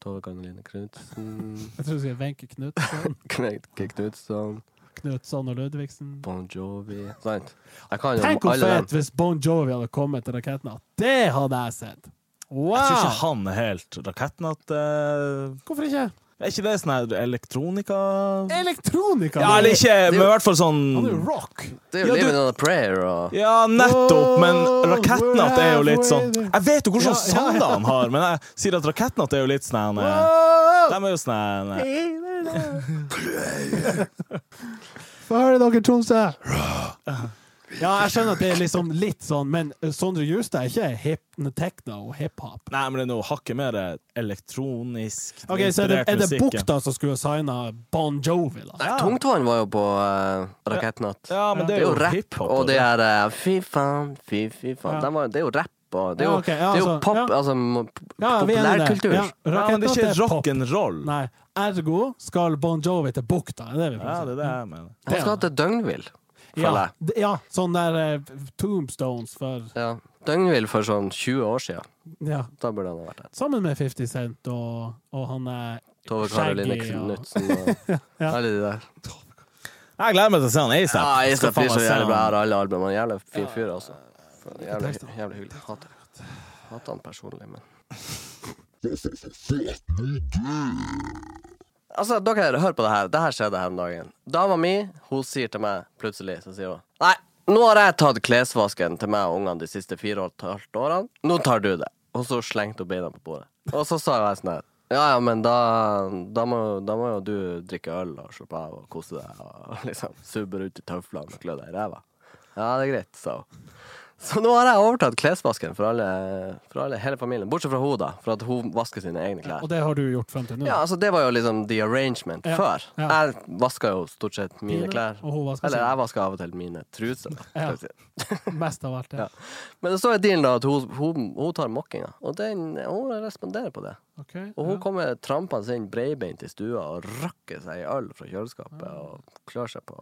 S3: Tove Karoline Knutsen
S2: jeg tror du sier Wenche Knutson,
S3: Knekke Knutson.
S2: Knutson og Ludvigsen.
S3: Bon Jovi. Sant? Jeg kan jo
S2: Tenk hvor
S3: alle dem.
S2: fett hvis Bon Jovi hadde kommet til Rakettnatt. Det hadde jeg sett! Wow!
S1: Jeg tror ikke han er helt rakettnatt eh,
S2: Hvorfor ikke?
S1: Er ikke det sånn her elektronika...?
S2: Elektronika!
S1: Ja, eller ikke, men i hvert fall sånn
S2: Han er jo rock!
S3: Det er jo
S1: Ja, du-
S3: Living on a Prayer og
S1: Ja, nettopp, men
S2: Wow,
S1: rakettnatt er jo litt sånn
S2: where are we?
S1: Jeg vet jo
S2: Ja,
S1: hvordan
S2: ja, ja.
S1: sanger han har, men jeg sier at rakettnatt er jo litt sånn eh, De er jo sånn eh,
S2: Få høre dere, Tromsø! Ja, jeg skjønner at det er liksom litt sånn, men Sondre Justad er ikke hip techno og hiphop.
S1: Nei, men det er noe hakket mer elektronisk
S2: Ok, så er det, er det
S1: musikken.
S2: Bukta som skulle signa Bon Jovi, da?
S3: Nei, Tungtvann var jo på eh, Rakettnatt.
S1: Ja, men det
S3: Det
S1: er jo
S3: rap,
S1: hiphop.
S3: og det er eh, fy faen, fy, fy faen.
S2: Ja.
S3: Dem var- Det er jo rap. Og det er
S2: Ja,
S3: jo,
S2: ok, ja,
S3: det er jo
S2: altså,
S3: pop,
S2: ja.
S3: altså mo-
S2: Ja, vi er enige i det.
S3: populærkultur.
S2: Ja,
S1: Ja, men det er
S2: Rakettnatt
S1: ikke
S2: er pop.
S1: rock'n'roll.
S2: Nei. Ergo skal Bon Jovi til Bukta. Er det
S1: Ja,
S2: vi
S1: det
S2: prøver å
S1: er det jeg mener.
S3: Han skal ha til Døgnvill,
S2: si?
S3: føler jeg.
S2: d- ja, sånn der eh, Tombstones for
S3: Ja. Døgnvill for sånn 20 år siden.
S2: Ja.
S3: Da burde han ha vært der.
S2: Sammen med 50 Cent og, og han er
S3: Tove Karoline Knutsen og alle de der.
S1: Jeg gleder meg til å se han ASAP.
S3: Ja, jeg skal
S1: faen altså.
S3: bli så
S1: meg se
S3: jævlig bra. Jeg
S1: han.
S3: har alle albumene. Han er Jævlig fin fyr, altså. Faen, Jævlig,
S2: tekst, da.
S3: jævlig hyggelig. Hater, hater han personlig, men Altså, dere, hør på det her. Det her skjedde her om dagen. Dama mi hun sier til meg plutselig så sier hun, Nei, nå har jeg tatt klesvasken til meg og ungene de siste fire og et halvt årene. Nå tar du det. Og så slengte hun beina på bordet. Og så sa jeg sånn her Ja, ja, men da, da, må, da må jo du drikke øl og slappe av og kose deg og liksom subbe rundt i tøflene og klø deg i ræva. Ja, det er greit, sa hun. Så nå har jeg overtatt klesvasken for, alle, for alle, hele familien, bortsett fra hun, da. For at hun vasker sine egne klær.
S2: Og det har du gjort frem til nå?
S3: Ja, altså det var jo liksom the arrangement
S2: Mm. Ja,
S3: før.
S2: ja.
S3: Jeg vaska jo stort sett mine
S2: Dine,
S3: klær.
S2: og hun vasket
S3: Eller
S2: sine.
S3: jeg vaska av og til mine truser. da, skal
S2: Ja.
S3: jeg si.
S2: Mest av alt, det.
S3: Ja. Men så er dealen da at hun, hun, hun tar mokkinga, og den, hun responderer på det.
S2: Ok, ja.
S3: Og hun kommer trampende inn breibeint i stua og rakker seg i øl fra kjøleskapet og klør seg på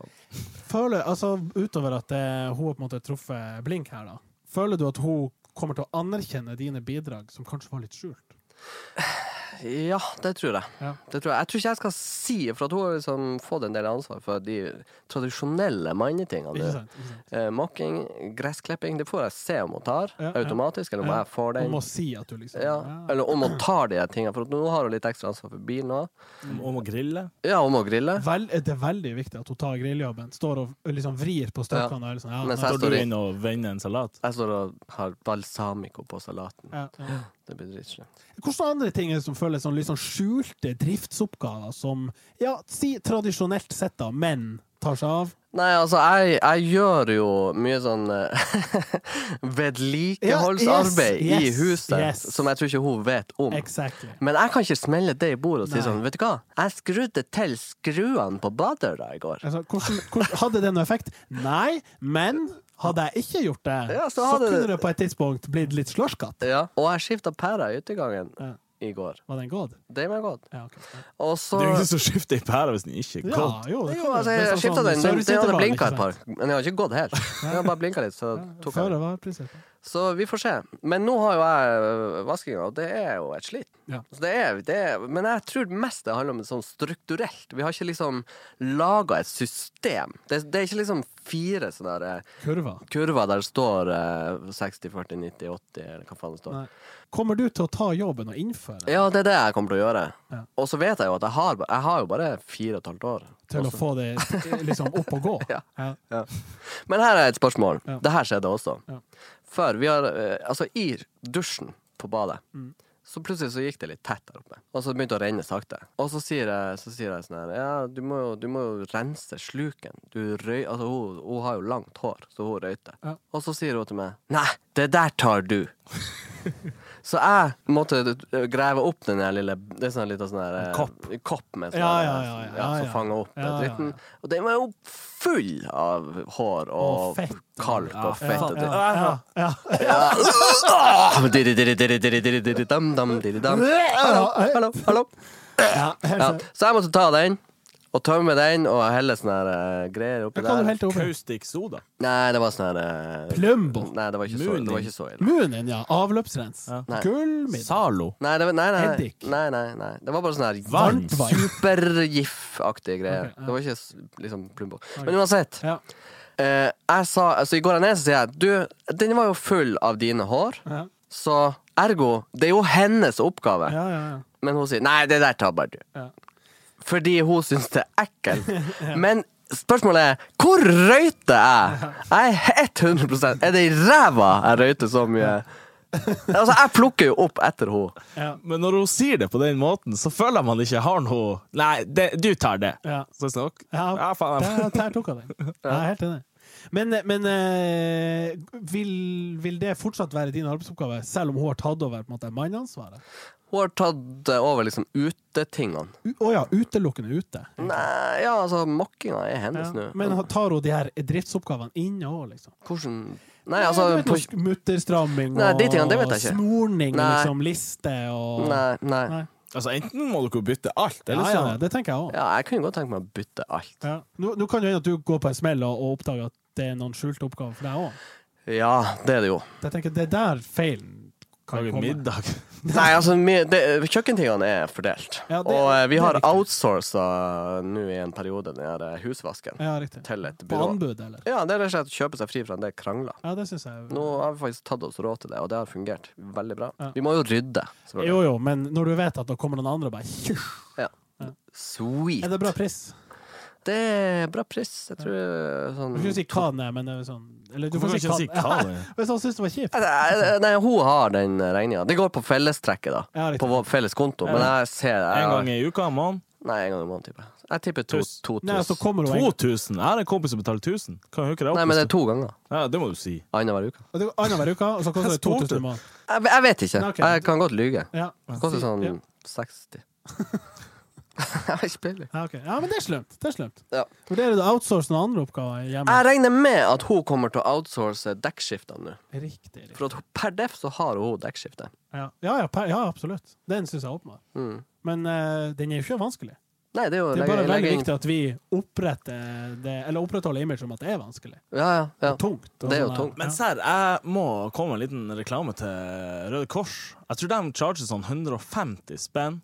S2: Føler, altså Utover at eh, hun har på en måte truffet blink her, da. Føler du at hun kommer til å anerkjenne dine bidrag, som kanskje var litt skjult?
S3: Ja, det tror jeg.
S2: Ja.
S3: Det tror jeg. jeg tror ikke jeg skal si, for at hun har liksom fått en del ansvar for de tradisjonelle mannetingene.
S2: Ikke sant? Ikke sant?
S3: Eh, mokking, gressklipping, det får jeg se om hun tar
S2: Ja, ja.
S3: automatisk, eller om
S2: Ja.
S3: jeg får
S2: Hun
S3: den.
S2: må si at du liksom
S3: Ja,
S2: ja.
S3: eller om hun tar de her tingene, for at nå har hun litt ekstra ansvar for bilen òg.
S1: Om å grille.
S3: Ja, hun må grille.
S2: Vel, Det er veldig viktig at hun tar grilljobben. Står og liksom vrir på
S3: Ja.
S2: støkkene. og er Liksom, ja,
S3: Mens
S2: nei,
S3: jeg
S1: Står
S3: står
S1: du
S3: i-
S1: inn og vender en salat?
S3: Jeg står og har balsamico på salaten.
S2: ja, ja.
S3: Det blir dritslemt.
S2: Hvilke andre ting er det som føles sånn, litt sånn skjulte driftsoppgaver som ja, si tradisjonelt sett, da, men tar seg av?
S3: Nei, altså, jeg, jeg gjør jo mye sånn eh, vedlikeholdsarbeid
S2: Ja, yes,
S3: i huset,
S2: yes, yes.
S3: som jeg tror ikke hun vet om.
S2: Exactly.
S3: Men jeg kan ikke smelle det i bordet og si
S2: Nei.
S3: sånn, vet du hva, jeg skrudde til skruene på badedøra i går.
S2: Altså, hvordan, hvordan, hadde det noen effekt? Nei, men hadde jeg ikke gjort det,
S3: Ja, så
S2: så,
S3: hadde
S2: kunne
S3: det-
S2: det på et tidspunkt blitt litt slåsskamp.
S3: Ja. Og jeg skifta pæra i utegangen
S2: Ja.
S3: i går.
S2: Var den gått?
S3: Det var godt.
S2: Ja, ok.
S3: Og så
S1: Det er jo ingen som skifter i pæra hvis den ikke er
S2: ja,
S1: kald.
S2: jo, det
S3: Jo,
S2: kan
S3: altså,
S2: det. Det er
S3: jeg
S2: sånn-
S3: skifta den. Den, den hadde
S2: serviceintervall,
S3: blinka
S2: ikke
S3: et par, men den har ikke gått helt. Den har bare blinka litt, så tok jeg
S2: Føre
S3: den.
S2: var-prinsippet.
S3: Så vi får se. Men nå har jo jeg vaskinga, og det er jo et slit.
S2: Ja.
S3: Så det er, det er, men jeg tror mest det handler om det sånn strukturelt. Vi har ikke liksom laga et system. Det, det er ikke liksom fire sånne der, eh,
S2: Kurva.
S3: kurver der det står eh, 60, 40, 90, 80, eller hva faen det står.
S2: Nei. Kommer du til å ta jobben og innføre
S3: Ja, det er det jeg kommer til å gjøre.
S2: Ja.
S3: Og så vet jeg jo at jeg har, ba- jeg har jo bare fire og et halvt år.
S2: til å
S3: Også.
S2: få det liksom opp og gå?
S3: Ja.
S2: Ja.
S3: Men her er et spørsmål.
S2: Ja.
S3: Det her skjedde også.
S2: Ja.
S3: Før vi har eh, Altså, i dusjen på badet,
S2: Mm.
S3: så plutselig så gikk det litt tett der oppe. Og så begynte det å renne sakte. Og så sier jeg, så sier jeg sånn her Ja, du må jo, du må jo rense sluken. Du røy... Altså, hun, hun har jo langt hår, så hun røyter.
S2: Ja.
S3: Og så sier hun til meg Nei, det der tar du. Så jeg måtte eh, grave opp den der lille Det er sånn liten sånn her eh,
S2: Kopp.
S3: kopp med sånn
S2: Ja,
S3: her,
S2: ja, ja, ja, ja, ja.
S3: Som fanger opp
S2: Ja, ja,
S3: dritten. Og den var jo full av hår
S2: Og
S3: og
S2: fett.
S3: kalk og fett.
S2: Ja,
S3: og dritt.
S2: ja, ja, ja.
S3: Ah, diri, diri, diri, diri, diri, diri, dam, dam, diri, dam. Hallo, hallo, hallo.
S2: Ja, helt
S3: Ja,
S2: sant.
S3: så jeg måtte ta den, og tømme den, og helle sånne her, eh, greier oppi
S2: Hva kan du
S3: der.
S2: helt oppi?
S1: Kaustikk soda.
S3: Nei, det var sånn her eh,
S2: Plumbo.
S3: Nei, det var ikke så, det var
S1: Mooning.
S3: ikke så ille.
S2: Munnen, ja. Avløpsrens.
S3: Nei.
S2: Gullmiddel.
S1: Zalo.
S3: Nei, det var, nei, nei,
S2: Eddik.
S3: nei, nei, nei. Det var bare sånn her
S1: Varmt
S2: vann.
S3: supergif-aktige greier.
S2: Ok, ja.
S3: Det var ikke s- liksom plumbo. Men uansett.
S2: Ja.
S3: Eh, jeg sa, altså I går jeg ned så sier jeg Du, den var jo full av dine hår,
S2: Ja.
S3: så ergo Det er jo hennes oppgave.
S2: Ja, ja, ja.
S3: Men hun sier nei, det der tar bare du.
S2: Ja.
S3: Fordi hun syns det er ekkelt. Men spørsmålet er hvor røyter jeg? Jeg er 100 Er det i ræva jeg røyter så mye? Altså, jeg plukker jo opp etter henne.
S2: Ja.
S1: Men når hun sier det på den måten, så føler jeg man ikke har noe Nei, det, du tar det.
S2: Ja.
S1: Så jeg snakker.
S2: Ja,
S1: Ja, faen. jeg-
S2: der, der tok jeg den. Jeg er helt enig. Men, men eh, vil, vil det fortsatt være din arbeidsoppgave, selv om hun har tatt over på en måte, manneansvaret?
S3: Hun har tatt eh, over liksom utetingene.
S2: U- Å ja, utelukkende ute.
S3: Nei, ja, altså, mokkinga er
S2: Ja.
S3: hennes nå.
S2: Men ha- tar hun de her driftsoppgavene inne òg, liksom?
S3: Hvordan Nei, altså
S2: du vet,
S3: på,
S2: noe Mutterstramming
S3: Nei,
S2: og
S3: de tingene, det vet jeg ikke.
S2: snorning,
S3: Nei.
S2: liksom, liste og
S3: Nei, nei.
S2: Nei.
S1: Altså, enten må dere jo bytte alt,
S2: Ja,
S1: eller
S2: ja,
S1: så
S2: det tenker jeg òg.
S3: Ja, jeg kunne godt tenkt meg å bytte alt.
S2: Ja. Nå, nå kan det hende at du går på en smell og, og oppdager at det er noen skjulte oppgaver for deg òg.
S3: Ja, det er det jo.
S2: Jeg tenker det er der feilen kan
S1: lage
S2: komme.
S1: middag.
S3: Nei, altså, mi- det, kjøkkentingene er fordelt.
S2: Ja, det-
S3: og eh, vi
S2: det er
S3: har
S2: riktig.
S3: outsourca nå i en periode den her eh, husvasken
S2: Ja, riktig.
S3: til et
S2: På
S3: byrå.
S2: anbud, eller?
S3: Ja, det er rett og slett å kjøpe seg fri fra en del krangler.
S2: Ja, det syns jeg.
S3: Nå har vi faktisk tatt oss råd til det, og det har fungert veldig bra.
S2: Ja.
S3: Vi må jo rydde. selvfølgelig.
S2: Jo, jo, men når du vet at det kommer noen andre og bare tjusj,
S3: Sweet.
S2: Er det bra pris?
S3: Det er bra pris. Jeg tror eh, sånn
S2: Du får ikke si hva den er, men det er sånn Eller du
S1: Hvorfor
S2: får
S1: kan
S2: si
S1: ikke si hva
S2: hva den er.
S1: det er?
S2: Hvis han syns det var kjipt.
S3: Nei, Nei, hun har den regninga. Det går på fellestrekket, da.
S2: Ja, riktig.
S3: på vår felles konto. Men jeg ser jeg,
S1: En gang i uka, mann.
S3: Nei, en gang i måneden, tipper jeg. Jeg tipper to-
S1: Tusen.
S3: 2000.
S2: Nei, altså, så kommer hun en-
S1: 2000! Jeg har en kompis som betaler 1000. Kan jo ikke det opp?
S3: Nei, men det er to ganger.
S1: Ja, det må du si.
S3: Annenhver uke.
S2: og det er Annenhver uke, og så koster
S1: Jeg
S2: det
S1: spurte.
S2: 2000 i måneden.
S3: Jeg, jeg vet ikke.
S2: Nei, ok.
S3: Jeg kan godt lyge.
S2: Ja.
S3: Det koster sånn
S2: Ja.
S3: 60. jeg har ikke peiling.
S2: Ja, ok. ja, men det er slemt. Det er slemt.
S3: Ja.
S2: Vurderer du å outsource noen andre oppgaver hjemme?
S3: Jeg regner med at hun kommer til å outsource dekkskiftene nå.
S2: Riktig. riktig.
S3: For at hun- per def så har hun dekkskifte.
S2: Ja, ja, ja, per- ja absolutt. Den syns jeg er åpenbar.
S3: Mm.
S2: Men eh, den er jo ikke vanskelig.
S3: Nei, det er jo
S2: Det er
S3: legge-
S2: bare
S3: legge
S2: veldig
S3: inn-
S2: viktig at vi oppretter det, eller opprettholder imaget om at det er vanskelig.
S3: Ja, ja. ja.
S2: Tungt. og
S3: Det er jo
S2: sånn der.
S3: tungt.
S1: Men
S2: Ja.
S1: serr, jeg må komme med en liten reklame til Røde Kors. Jeg tror de charger sånn 150 spenn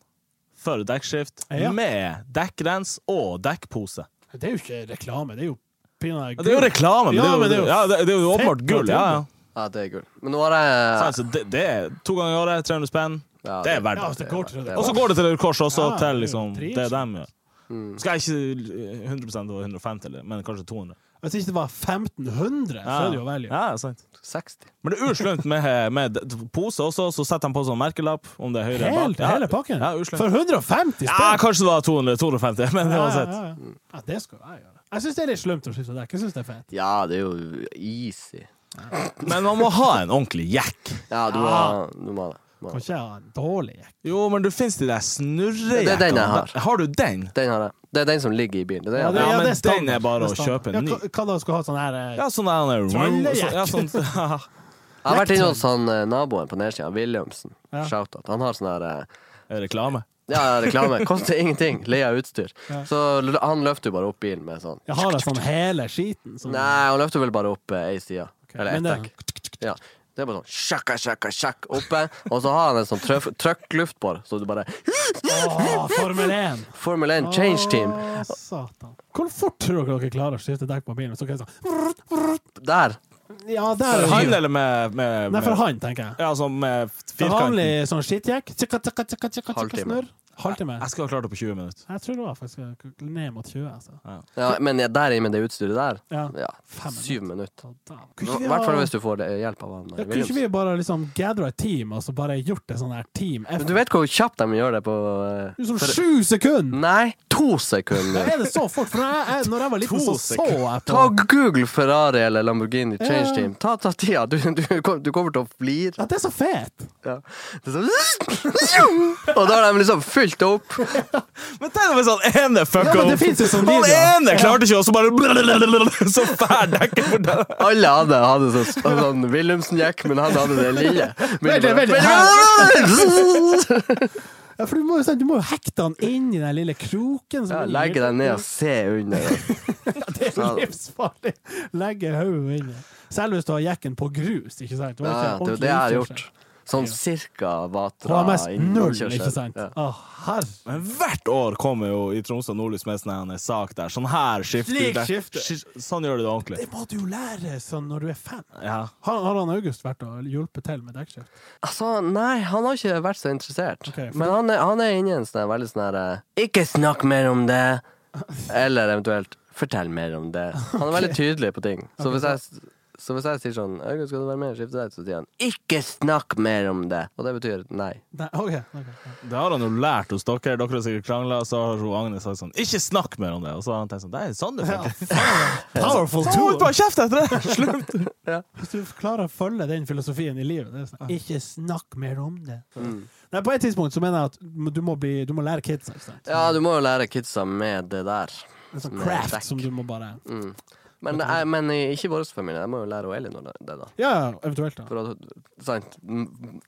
S1: for dekkskift,
S2: Ja.
S1: med dekkrens og dekkpose.
S2: Det er jo ikke reklame, det er jo pinadø
S1: Ja, det er jo reklame, men
S2: Ja,
S1: det er jo,
S2: men det er jo
S1: ja, det, det er jo åpenbart
S2: fett
S1: gull. Ja, ja.
S3: ja, det er gull. Men nå har jeg
S1: Sant, så altså, det, det er to ganger i året, 300 spenn.
S3: ja,
S1: Det er
S2: Ja,
S1: verdt
S2: altså,
S1: det.
S2: det går til det.
S1: Og så går det til Røde Kors også,
S2: Ja,
S1: til liksom,
S2: det er jo
S1: det de gjør. Skal jeg ikke 100 over 150, eller, men kanskje 200?
S2: Hvis ikke det var 1500, så er det jo value.
S1: Ja, det er sant.
S3: 60.
S1: Men det er uslønt med, med d- pose også, så setter de på sånn merkelapp om det er høyre eller
S2: Helt,
S1: bak. Ja,
S2: hele pakken.
S1: Ja, uslønt.
S2: For 150 spenn!
S1: Ja, kanskje det var 200, 250, men
S2: Ja,
S1: uansett.
S2: Ja, ja, ja. ja, det skal jeg gjøre. Jeg syns det er litt slumt å skifte dekk. Jeg syns det er fett.
S3: Ja, det er jo easy.
S1: Men man må ha en ordentlig jack.
S3: Ja, du må ha du må ha det. Du må ha
S2: Kan
S3: det.
S2: ikke ha en dårlig jekk.
S1: Jo, men du finnes de der snurrejakkene.
S3: Det er den jeg har.
S1: Har du den?
S3: Den har jeg. Det er den som ligger i bilen. Det er den
S1: Ja,
S3: jeg
S1: det-
S3: har.
S1: men
S2: det standard.
S1: den er bare
S2: Det
S1: å
S2: standard.
S1: kjøpe en
S2: Ja, hva- Hva da skulle ha sånn her eh,
S1: Ja, sånn der den er-
S2: Trollejack.
S1: ja, sånn,
S3: jeg har vært inne hos han eh, naboen på nedsida, Williamsen.
S2: Ja.
S3: Shout-out. Han har sånn her eh,
S1: Reklame.
S3: ja, reklame. Koster ingenting. Leia utstyr. Så l- han løfter jo bare opp bilen med sånn.
S2: Jeg har da sånn hele skiten. Som,
S3: Nei, han løfter vel bare opp eh, ei side. Eller
S2: men
S3: ett
S2: det-
S3: dekk. Ja. Det er bare sånn sjakka, sjakka, sjakk oppe, og så har han en sånn trøff- trøkkluftbår, så du bare
S2: Åh, Formel 1!
S3: Formel 1, change team.
S2: Å, satan. Hvor fort tror dere dere klarer å skifte dekk på bilen? Så kan jeg sånn,
S3: Der.
S2: ja, der
S1: For
S2: er
S1: han
S2: det.
S1: eller med, med,
S2: Nei,
S1: med
S2: for han, tenker jeg.
S1: Ja, altså med
S2: Det er
S1: firkanten.
S2: vanlig sånn skittjekk. Tjekka, tjekka, tjekka, tjekka, tjekka,
S3: Halvtime.
S2: snurr. Halvtime.
S1: Jeg skulle ha klart det på 20 minutter.
S2: Jeg tror det var faktisk ned mot 20. Altså.
S3: Ja, men ja, der i med det utstyret der,
S2: Ja.
S3: ja,
S2: Fem
S3: syv minutter.
S2: Så da-
S3: I
S2: Kunne ikke vi
S3: hvert fall
S2: ha-
S3: hvis du får det, hjelp av han eh,
S2: Ja, kunne ikke
S3: Williams.
S2: vi bare liksom gadra et team og så bare gjort et sånn her team
S3: Men
S2: effort?
S3: Du vet hvor kjapt de gjør det på eh,
S2: Som sju sekunder!
S3: Nei, to
S2: Da
S3: sekunder!
S2: er det så fort! For jeg, jeg, når jeg var liten,
S1: To
S2: så så jeg på
S3: Ta og Google Ferrari eller Lamborghini Change
S2: Ja.
S3: Team. Ta, ta tida. Du, du, kom- du kommer til å flire.
S2: Ja, det er så fett!
S3: Ja. Det er sånn Og da har de liksom fylt det opp.
S1: Men tenk hvis han ene fucka
S2: Ja, men det
S1: opp!
S2: finnes jo sånne
S1: han
S2: videoer.
S1: ene klarte ikke, og så bare Så fær dekket for den.
S3: Alle hadde, hadde så, sånn Wilhelmsen-jack, men han hadde det lille.
S2: Vent litt, vent litt.
S3: litt.
S2: Ja, for du må, jo sånn- du må jo hekte han inn i den lille kroken. som
S3: Ja,
S2: er i
S3: Legge deg
S2: midten.
S3: ned og se under.
S2: Det er livsfarlig! Legge hodet inni. Selv hvis du har jekken på grus, ikke sant? Du har
S3: Ja,
S2: ikke
S3: ja, det er
S2: ordentlig
S3: det jeg har
S2: utførsel.
S3: gjort. Sånn cirka Vatra
S2: HMS null,
S3: innkjørsel.
S2: ikke sant?
S3: Ja.
S2: Å, herre
S1: Men hvert år kommer jo i Tromsø og Nordlys med sånn en sak der. Sånn her skifter du
S2: Slik
S1: dekk.
S2: skifter.
S1: Sk- Sånn gjør du det ordentlig.
S2: Det må du jo lære sånn når du er fem.
S1: Ja.
S2: Har, har han August vært og hjulpet til med dekkskift?
S3: Altså, nei, han har ikke vært så interessert.
S2: Ok, for-
S3: Men han er, han er inne i en sånn her veldig sånn her eh, Ikke snakk mer om det! Eller eventuelt fortell mer om det. Han er veldig tydelig på ting. Så hvis jeg, s- så hvis jeg sier sånn August, skal du være med og skifte deg? Så sier han ikke snakk mer om det! Og det betyr nei.
S2: Nei, ok, ok, ok.
S1: Det har han jo lært hos dere. Dere har sikkert krangla, så har hun Agnes sagt sånn Ikke snakk mer om det! Og så har han tenkt sånn Det er sånn det funker.
S2: Powerful
S1: Så
S2: tool!
S1: hun bare kjeft etter det! Slutt!
S2: Hvis du klarer å følge den filosofien i livet det er sånn, Ikke snakk mer om det. Nei, på et tidspunkt så mener jeg at du må, bli, du må lære kidsa. Ikke sant?
S3: Ja, du må jo lære kidsa med det der.
S2: En sånn
S3: med
S2: craft
S3: dekk.
S2: som du må bare
S3: Mm. Men, eh, men i- ikke i vår familie. Jeg må jo lære Elinor det, da.
S2: Ja, ja, eventuelt. da
S3: For at, sant m-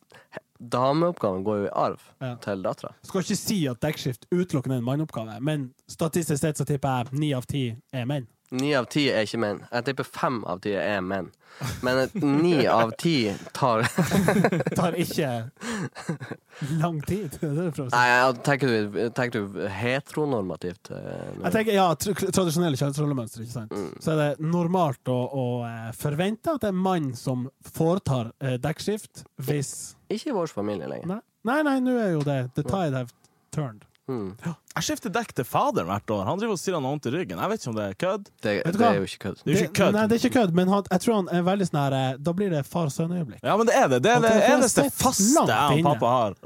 S3: Dameoppgaven går jo i arv
S2: Ja.
S3: til dattera.
S2: Skal ikke si at dekkskift utelukkende er en manneoppgave, men statistisk sett så tipper jeg ni av ti er menn.
S3: Ni av ti er ikke menn. Jeg tipper fem av ti er menn. Men et ni av ti tar
S2: Det tar ikke lang tid. Det er det jeg prøver å si.
S3: Nei, jeg- tenker du, tenker du heteronormativt? eh, nå?
S2: Jeg tenker, ja, tr Tradisjonelle kjønnsrollemønstre. ikke sant? Så er det normalt å, å eh, forvente at det er mann som foretar eh, dekkskift hvis
S3: Ikke i vår familie lenger.
S2: Nei, nei, nei, nå er jo det The tide have turned.
S3: Mm.
S1: Jeg skifter dekk til faderen hvert år. Han driver og sier han har vondt i ryggen. Jeg vet ikke om det er kødd.
S3: Det,
S2: Vet du
S3: det
S2: hva?
S3: er jo ikke kødd.
S1: Det er jo ikke kødd.
S2: Nei, det er ikke kødd, men han, jeg tror han er veldig sånn her eh, Da blir det far-sønn-øyeblikk.
S1: Ja, men det er det. Det er
S2: Og
S1: det
S2: telefonen
S1: eneste
S2: sitter
S1: faste
S2: langt
S1: jeg og
S2: inne.
S1: pappa har.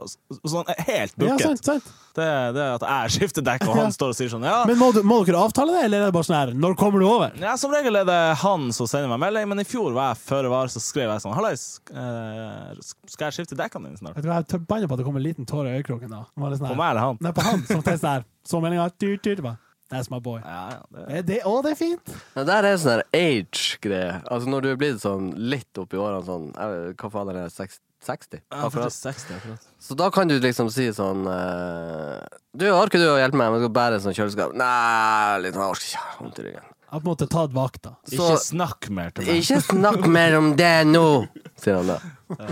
S1: Sånn helt
S2: Ja,
S1: booket.
S2: sant, sant.
S1: det, det er at jeg skifter dekk, og
S2: Ja.
S1: han står og sier sånn Ja,
S2: Men må, du, må dere avtale det, eller er det bare sånn her Når kommer du over?
S1: ja som regel er det han som sender meg melding, men i fjor var jeg føre var, så skrev jeg sånn Hallais, eh, skal jeg skifte dekkene dine snart?
S2: Vet du hva, Jeg er forbanna på at det kom en liten tåre i øyekroken da. Han var litt sånn
S1: På
S2: her-
S1: meg eller han?
S2: Nei, på han som tenkte sånn her. Så meldinga tut, tut, bare, That's my boy.
S1: Ja, ja, det.
S2: Er det, å, det er fint!
S3: Det der er sånn her age-greie. Altså Når du er blitt sånn litt oppi årene, sånn jeg vet- Hva faen er det? seks- 60?
S1: Ja,
S3: Akkurat.
S1: 60 akkurat.
S3: Så da kan du liksom si sånn eh, Du, orker du å hjelpe meg? Jeg skal bære en sånn kjøleskap. Nei, litt, jeg orker ikke. Jeg har Vondt i ryggen.
S2: Jeg på en måte tatt vakta.
S3: Så
S1: Ikke snakk mer til meg.
S3: ikke snakk mer om det nå, sier han da.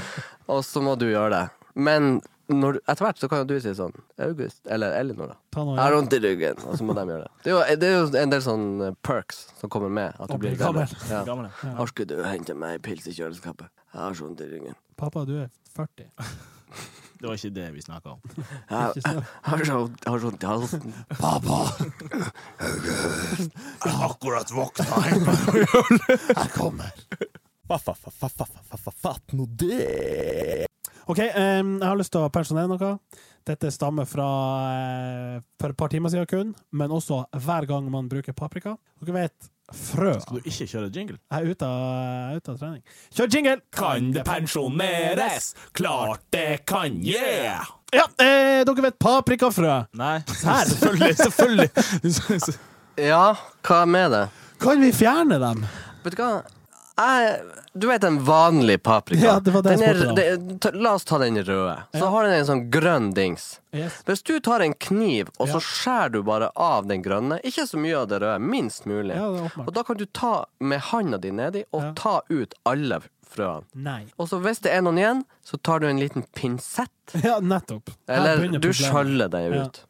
S3: Og så må du gjøre det. Men når, du- etter hvert så kan jo du si sånn August, eller Elinor, da.
S2: Ta noe
S3: Jeg har vondt i ryggen. Og så må de gjøre det. Det er, jo, det er jo en del sånn perks som kommer med. At du
S2: Å bli
S3: blir gammel.
S2: gammel.
S3: Ja.
S1: Gammel, ja.
S3: Orker du å hente meg en pils i kjøleskapet? Jeg har så vondt i ryggen.
S2: Pappa, du er 40.
S1: Det var ikke det vi snakka om.
S3: Jeg jeg har så jeg har så vondt i halsen.
S2: Pappa,
S1: Jeg har akkurat våkna.
S2: jeg kommer.
S1: Fatt nå det!
S2: OK, em, jeg har lyst til å pensjonere noe. Dette stammer fra eh, for et par timer siden kun, men også hver gang man bruker paprika. Dere vet frø.
S1: Skal du ikke kjøre jingle?
S2: Jeg er ute av, jeg er ute av trening. Kjør jingle!
S1: Klart det kan, yeah!
S2: Ja, eh, dere vet paprikafrø.
S1: Nei, selvfølgelig. selvfølgelig.
S3: Ja, hva med det?
S2: Kan vi fjerne dem?
S3: Vet du hva? Jeg, du vet den vanlige paprika?
S2: Ja, det var det jeg
S3: Den er-
S2: spurte
S3: det- ta- La oss ta den røde. Så har den en sånn grønn dings.
S2: Yes.
S3: Hvis du tar en kniv, og
S2: Ja.
S3: så skjærer du bare av den grønne, ikke så mye av det røde, minst mulig,
S2: Ja, det er åpenbart.
S3: og da kan du ta med handa di nedi og
S2: Ja.
S3: ta ut alle frøene.
S2: Nei.
S3: Og så hvis det er noen igjen, så tar du en liten pinsett,
S2: Ja, nettopp. Her
S3: eller
S2: begynner
S3: du
S2: problemet.
S3: skjøller deg
S2: Ja.
S3: ut.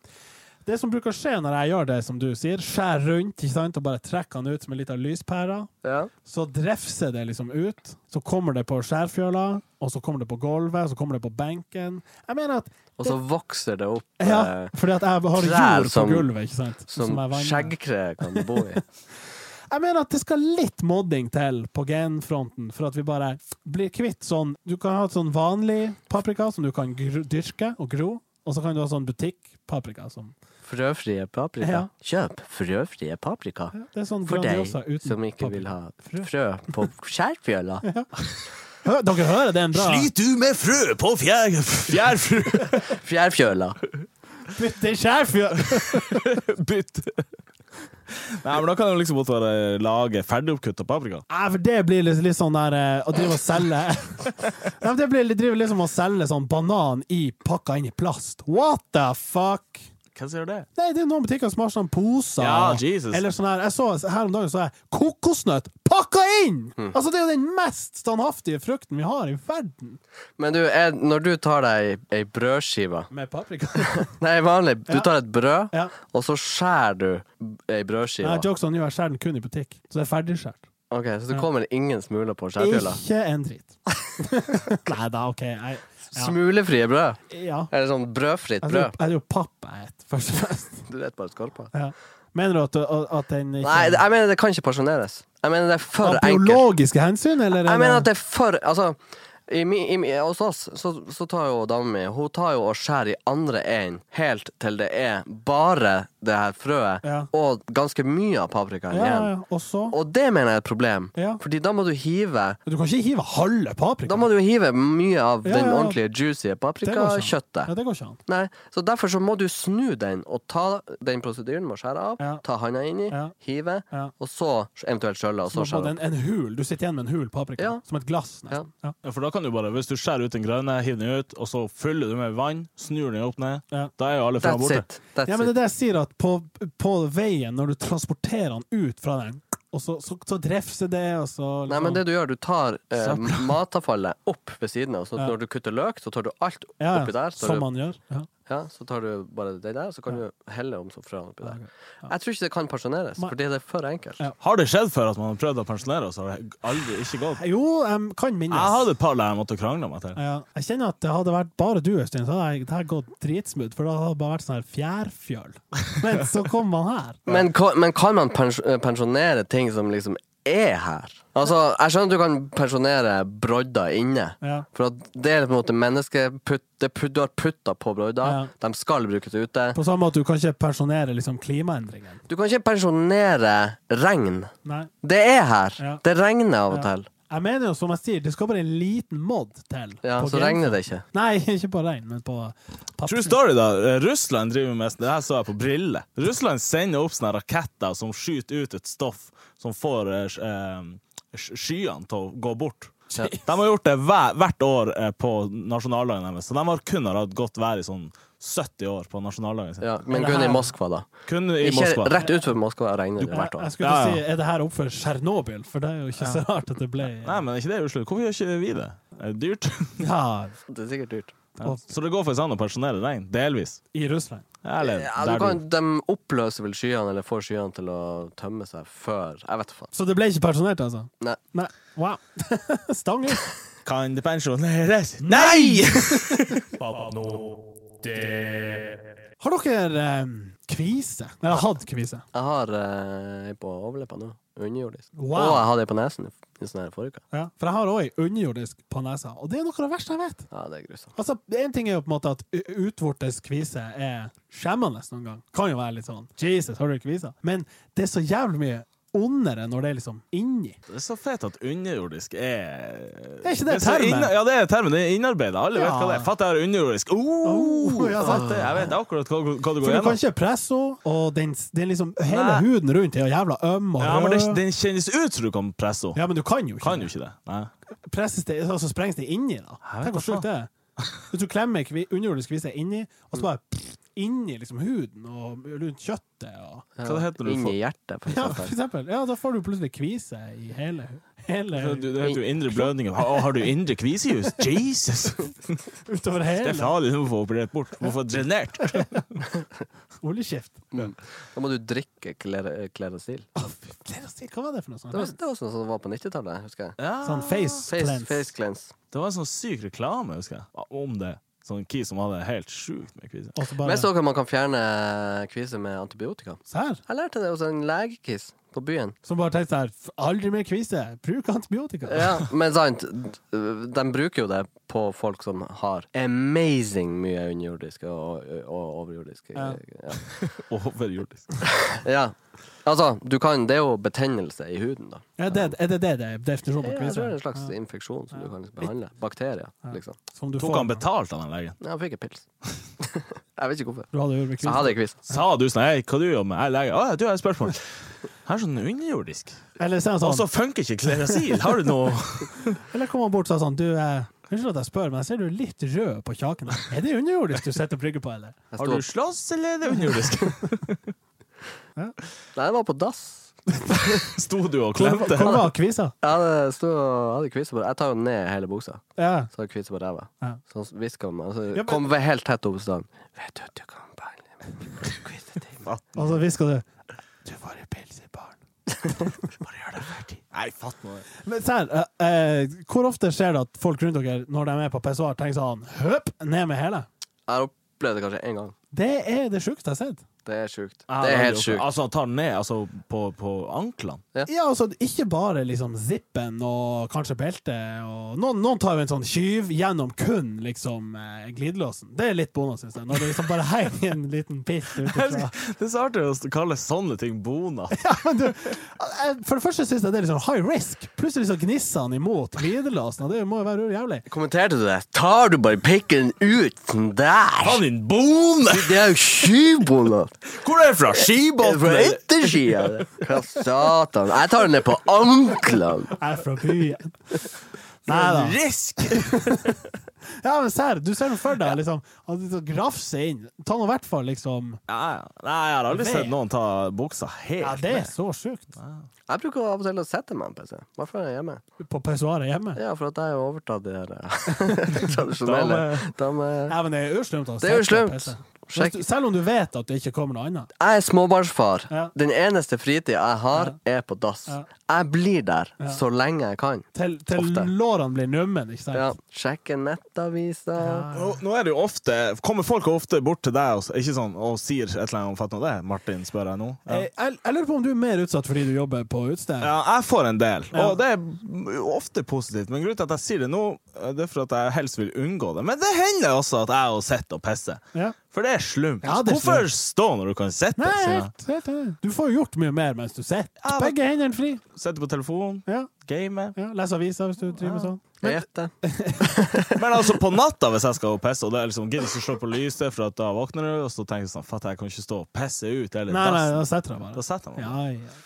S2: Det som bruker å skje når jeg gjør det som du sier, skjær rundt ikke sant, og bare trekker den ut som en liten lyspære,
S3: Ja.
S2: så drefser det liksom ut. Så kommer det på skjærfjøla, og så kommer det på gulvet, så kommer det på benken. Jeg mener at
S3: Og så vokser det opp
S2: ja,
S3: eh,
S2: fordi at jeg har
S3: trær
S2: jord på
S3: som-
S2: gulvet, ikke sant?
S3: som
S2: jeg vanner.
S3: skjeggkre kan bo i.
S2: Jeg mener at det skal litt modding til på genfronten for at vi bare blir kvitt sånn Du kan ha et sånn vanlig paprika som du kan gr dyrke og gro, og så kan du ha sånn butikkpaprika som
S3: Frøfrie paprika.
S2: Ja.
S3: Kjøp frøfrie paprika.
S2: ja, Det er sånn
S3: For deg
S2: Grandiosa uten
S3: som ikke
S2: paprika.
S3: vil ha
S2: Frø.
S3: frø på skjærfjøla.
S2: Hø, Dere hører det er en bra
S1: Slit du med frø på fjær... Fjærfrø?
S3: Fjærfjøla.
S2: Bytte skjærfjøl!
S1: Bytt. Nei, men da kan det jo liksom godt være lage ferdigoppkutta paprika.
S2: Nei, for det blir litt, litt sånn der eh, å drive og selge Nei, men Det blir litt, driver liksom å selge sånn banan i pakka inn i plast. What the fuck?
S1: Hva sier det?
S2: Nei, det er noen butikker som har sånne poser.
S1: Ja, Jesus.
S2: Eller sånn her. Jeg så, her om dagen så jeg kokosnøtt pakka inn!
S1: Hmm.
S2: Altså, det er jo den mest standhaftige frukten vi har i verden.
S3: Men du, er, når du tar deg ei brødskive
S2: Med paprika.
S3: Nei, vanlig. Du
S2: Ja.
S3: tar et brød,
S2: Ja.
S3: og så skjærer du
S2: Nei,
S3: ei brødskive.
S2: jokes on you, jeg skjærer den kun i butikk. Så det er ferdigskjært.
S3: Ok, Så det kommer ingen smuler på skjærfjøla?
S2: Ikke en dritt. Nei da, OK. Jeg, ja. Altså,
S3: Smulefrie brød?
S2: ja.
S3: Eller sånn brødfritt
S2: Jeg tror,
S3: brød?
S2: jeg tror papp jeg et, først og fremst.
S3: Du vet bare skorpa.
S2: Ja. Mener du at, at den ikke
S3: Nei, det- jeg mener det kan ikke pensjoneres. Jeg mener det er for
S2: Av
S3: enkelt.
S2: biologiske hensyn, eller?
S3: Jeg mener at det er for Altså, i, mi- i, mi- hos oss så, så tar jo dama mi Hun tar jo og skjærer i andre enden helt til det er bare det her frøet
S2: Ja.
S3: og ganske mye av paprikaen
S2: Ja, ja,
S3: igjen.
S2: ja. Og så
S3: Og det mener jeg er et problem,
S2: Ja.
S3: Fordi da må du hive
S2: Du kan ikke hive halve
S3: Da
S2: paprikaen.
S3: må du hive mye av
S2: Ja,
S3: den
S2: ja, ja.
S3: ordentlige juicy
S2: Det går ikke an.
S3: paprikakjøttet.
S2: Ja, det går ikke an.
S3: Nei, så Derfor så må du snu den og ta den prosedyren med å skjære av,
S2: Ja.
S3: ta handa inni,
S2: Ja.
S3: hive,
S2: Ja.
S3: og så eventuelt skjølle, og så
S2: Som på
S3: skjære av.
S2: en, en hul. Du sitter igjen med en hul paprika.
S3: Ja.
S2: Som et glass, nesten. Ja.
S1: Ja, for da kan du bare, Hvis du skjærer ut den grønne, hiver den ut, og så fyller du med vann, snur den opp ned,
S2: Ja.
S1: da er jo alle frøene
S3: That's
S1: borte.
S3: it. That's
S2: Ja, men det
S3: it.
S2: er det jeg sier, at på, på veien, når du transporterer den ut fra den, og så, så, så drefser det, og så liksom-
S3: Nei, men det du gjør, du tar eh, matavfallet opp ved siden av. Så
S2: Ja.
S3: når du kutter løk, så tar du alt
S2: ja,
S3: oppi
S2: ja.
S3: der. Så,
S2: Som
S3: du,
S2: man gjør. Ja.
S3: ja, så tar du bare det der, så kan du helle om som frøene oppi der.
S2: ok.
S3: Jeg tror ikke det kan pensjoneres,
S2: Nei.
S3: fordi det er for enkelt.
S2: Ja.
S1: Har det skjedd før at man har prøvd å pensjonere, og så har det aldri ikke gått?
S2: Jo, jeg kan minnes.
S1: Jeg hadde et par der jeg måtte krangle meg til.
S2: Ja, jeg kjenner at det hadde vært bare du, Øystein, så hadde jeg- det her gått dritsmooth, for da hadde det bare vært sånn her fjærfjøl. Men så kom man her.
S3: Men, ka- men kan man pens- eh, pensjonere ting som liksom er her? Altså, Jeg skjønner at du kan pensjonere brodder inne.
S2: Ja.
S3: For at det er på en måte menneskeputt det put, Du har putta på brodder.
S2: Ja.
S3: De skal brukes ute.
S2: På samme måte du kan ikke pensjonere liksom, klimaendringene.
S3: Du kan ikke pensjonere regn.
S2: Nei.
S3: Det er her.
S2: Ja.
S3: Det regner av og
S2: Ja.
S3: til.
S2: Jeg mener jo, som jeg sier, det skal bare en liten mod til.
S3: Ja,
S2: på
S3: så
S2: grensen.
S3: regner det ikke.
S2: Nei, ikke på regn, men på papir.
S1: True story, da. Eh, Russland driver mest Det her så jeg på briller. Russland sender opp sånne raketter som skyter ut et stoff som får eh, sk- eh, sk- skyene til å gå bort.
S3: Ja.
S1: De har gjort det hver, hvert år eh, på nasjonaldagen deres, så de har kun har hatt godt vær i sånn 70 år på nasjonaldagen sin.
S3: Ja, men
S2: det
S3: kun i
S2: her-
S3: Moskva, da.
S1: Kun i
S3: Ikke
S1: Moskva.
S3: rett utenfor Moskva regner det
S2: Jeg,
S3: hvert år.
S2: jeg skulle
S1: Ja, ja.
S2: til å si, er det her oppfor Tsjernobyl? For det er jo ikke så rart at det ble
S1: Nei, men er ikke det uslett. Hvorfor gjør ikke vi det? Er det dyrt?
S2: ja,
S3: Det er sikkert dyrt.
S1: Ja. Så det går faktisk an å pensjonere regn, delvis.
S2: i Russland.
S1: Eller
S3: Ja, du
S1: der
S3: kan,
S1: du
S3: de oppløser vel skyene, eller får skyene til å tømme seg før Jeg vet da faen.
S2: Så det ble ikke pensjonert, altså?
S3: Nei.
S2: Nei. Wow. Stang ut.
S1: Kan det pensjoneres? Nei!
S2: Har dere eh, kvise? Eller hatt kvise?
S3: Jeg har eh, ei på overleppa nå. Underjordisk.
S2: Wow.
S3: Og jeg hadde ei på nesen i i sånn her forrige uke.
S2: Ja. For jeg har òg ei underjordisk på nesa, og det er noe av det verste jeg vet.
S3: Ja, det er grusomt.
S2: Altså, Én ting er jo på en måte at u- utvortes kvise er skjemmende noen gang. Kan jo være litt sånn Jesus, har du kvise? Men det er så jævlig mye ondere når det er liksom inni.
S1: Det er så fett at underjordisk er
S2: Er ikke det
S1: så
S2: termen?
S1: inna- Ja, det er termen. Det er innarbeida. Alle vet
S2: Ja.
S1: hva det er. Fatt, jeg har underjordisk. Oh,
S2: Oh, ja, sant.
S1: fatt, jeg vet akkurat hva, hva du
S2: For
S1: går
S2: du
S1: gjennom.
S2: kan ikke presse henne, og den, den liksom, hele
S1: Nei.
S2: huden rundt er jo jævla øm og
S1: Ja, men det,
S2: rød.
S1: den kjennes ut som du kan presse henne.
S2: Ja, men du kan jo ikke
S1: Kan
S2: det.
S1: jo ikke det. Nei.
S2: Presses det, altså sprengs det inni, da.
S1: vet
S2: Tenk
S1: da
S2: hvor sjukt det er. Hvis du klemmer kvi, underjordisk kvise inni, og så
S1: Mm.
S2: bare pff, inni liksom huden og rundt kjøttet og
S3: Ja,
S1: Hva det heter når du
S3: Inn
S1: får-
S3: i hjertet, for
S2: Ja, for
S3: eksempel.
S2: eksempel. Ja, da får du plutselig kvise i hele hele,
S1: Det heter jo- det heter jo indre blødninger. Har, har du indre kvisejus? Jesus!
S2: Utover
S1: Det er
S2: hele
S1: farlig, du må få operert bort. Du må få drenert.
S2: oljeskift.
S3: Mm. Da må du drikke klere- kleresil.
S2: Å, fy, flere å si, Hva var det for noe
S3: Det var, Ah.
S2: sånt?
S3: det var sånn som det var på 90-tallet, husker jeg.
S1: Ja.
S2: Sånn face,
S3: Face,
S2: cleanse.
S3: face cleanse.
S1: Det var en sånn syk reklame, husker jeg, om det. Sånn Ki som hadde helt sjukt med kviser.
S2: Og så
S3: Men
S2: bare
S3: jeg så at man kan fjerne kvise med antibiotika.
S2: Se her.
S3: Jeg lærte det hos en legekiss på byen.
S2: Som bare tenkte sånn her, "F- Aldri mer kvise. Bruk antibiotika.
S3: Ja, men sant, de bruker jo det på folk som har amazing mye underjordiske og, og overjordiske
S2: Ja.
S3: ja.
S1: Overjordisk.
S3: ja. Altså, du kan, det er jo betennelse i huden, da.
S2: Er det er det, det, det er definisjonen på
S3: Ja, jeg
S2: kvise?
S3: tror det er en slags infeksjon som du kan behandle. Bakterier, liksom.
S2: Som du
S1: Tok
S2: får
S1: han betalt av den legen?
S3: Ja, jeg fikk en pils. jeg vet ikke hvorfor.
S2: Du hadde gjort med
S3: Så jeg
S2: kvise.
S3: hadde en quiz.
S1: Sa du sånn Hei, hva du gjør med Jeg er lege. Å, ja, du har et spørsmål. Her er sånn underjordisk.
S2: Eller så er han sånn
S1: Og så funker ikke klerasil. Har du noe
S2: Eller kom han bort og sa sånn Du, eh, unnskyld at jeg spør, men jeg ser du er litt rød på kjaken. Er det underjordisk du sitter og brygger på, eller?
S3: Jeg
S1: Har
S3: sto
S1: du slåss, eller er det underjordisk?
S3: Nei, jeg var på dass.
S1: Sto du og
S2: Hvor
S1: klemte?
S2: hvor var kvisa?
S3: Jeg hadde, sto, og hadde quiz på Jeg tar jo ned hele buksa,
S2: Ja.
S3: så har jeg quiz på ræva.
S2: Ja.
S3: Så hvisker han meg, og så
S2: men-
S3: kom vi helt tett opp sånn Vet du at du kan behandle meg? Quizetime.
S2: Og så hvisker du Du var i pils i baren.
S1: Bare gjør det ferdig. Nei, fatt nå det.
S2: Men sær, eh, eh, hvor ofte skjer det at folk rundt dere, når de er på pissoar, tenker sånn Høp! Ned med hele.
S3: Jeg har opplevd det kanskje én gang.
S2: Det er det sjukeste jeg har sett.
S3: Det er sjukt. Det er helt sjukt.
S1: Altså, han tar den ned altså, på, på anklene.
S2: Ja, altså, ikke bare liksom zippen og kanskje beltet og Noen, noen tar jo en sånn skyv gjennom kun liksom eh, glidelåsen. Det er litt bonus, syns jeg. Når det liksom bare henger en liten piss utenfra.
S1: Det er så artig å kalle sånne ting bonat.
S2: Ja, men du, jeg- for det første syns jeg det er litt sånn high risk. Plutselig så gnisser han imot glidelåsen, og det må jo være urjævlig.
S3: Kommenterte du det? Tar du bare pikken ut sånn der?
S1: Faen, din bone!
S3: Det er jo skybonat!
S1: Hvor er det fra?
S3: Fra
S1: Skibotn?
S3: ettersida! Hva satan? Jeg tar den ned på anklene!
S2: Jeg er fra byen. Nei da.
S1: Risk!
S2: Ja, men serr, du ser nå for deg liksom at du grafser inn. Ta nå i hvert fall liksom
S1: Ja, ja. Nei, jeg har aldri
S2: Ved.
S1: sett noen ta buksa helt
S2: Ja, det er så sjukt.
S3: Jeg bruker av og til å sette meg en PC. Hvorfor er jeg hjemme?
S2: På pissoaret hjemme.
S3: Ja, for at jeg har jo overtatt de her tradisjonelle dame...
S2: Ja, men det er altså. jo slemt. å
S3: Det er jo
S2: sette på
S3: slemt.
S2: PC. Hvis
S3: Sjekk.
S2: du- Selv om du vet at det ikke kommer noe annet.
S3: Jeg er småbarnsfar.
S2: Ja.
S3: Den eneste fritid jeg har, er på dass.
S2: Ja.
S3: Jeg blir der så lenge jeg kan.
S2: Til, til
S3: Ofte.
S2: lårene blir nummen, ikke sant?
S3: Ja, sjekke nettaviser.
S1: Nå, nå er det jo ofte Kommer folk ofte bort til deg og, s- ikke sånn, og sier et eller annet om fatt nå det? Martin, spør jeg nå. Ja.
S2: Jeg, Eh, jeg, jeg lurer på om du er mer utsatt fordi du jobber på utested?
S1: Ja, jeg får en del,
S2: Ja.
S1: og det er ofte positivt. Men grunnen til at jeg sier det nå, eh, det er for at jeg helst vil unngå det. Men det hender også at jeg sitter og pisser.
S2: Ja.
S1: For det er slumt.
S2: Ja, det er
S1: Hvorfor stå når du kan sitte?
S2: Nei,
S1: sier jeg.
S2: helt, helt, enig. Du får jo gjort mye mer mens du sitter.
S1: Ja, men-
S2: Begge hendene fri.
S1: Sitte på telefonen,
S2: Ja,
S1: game.
S2: ja. Les aviser hvis du driver med sånn.
S3: Ete.
S1: Men altså på natta hvis jeg skal pisse, og det er liksom gidder ikke slå på lyset, for at da våkner du, og så tenker du sånn Fatt, jeg kan ikke stå og pisse ut hele
S2: Nei, nei,
S1: dassen.
S2: da setter jeg bare.
S1: Da setter jeg meg.
S2: Ja, ja.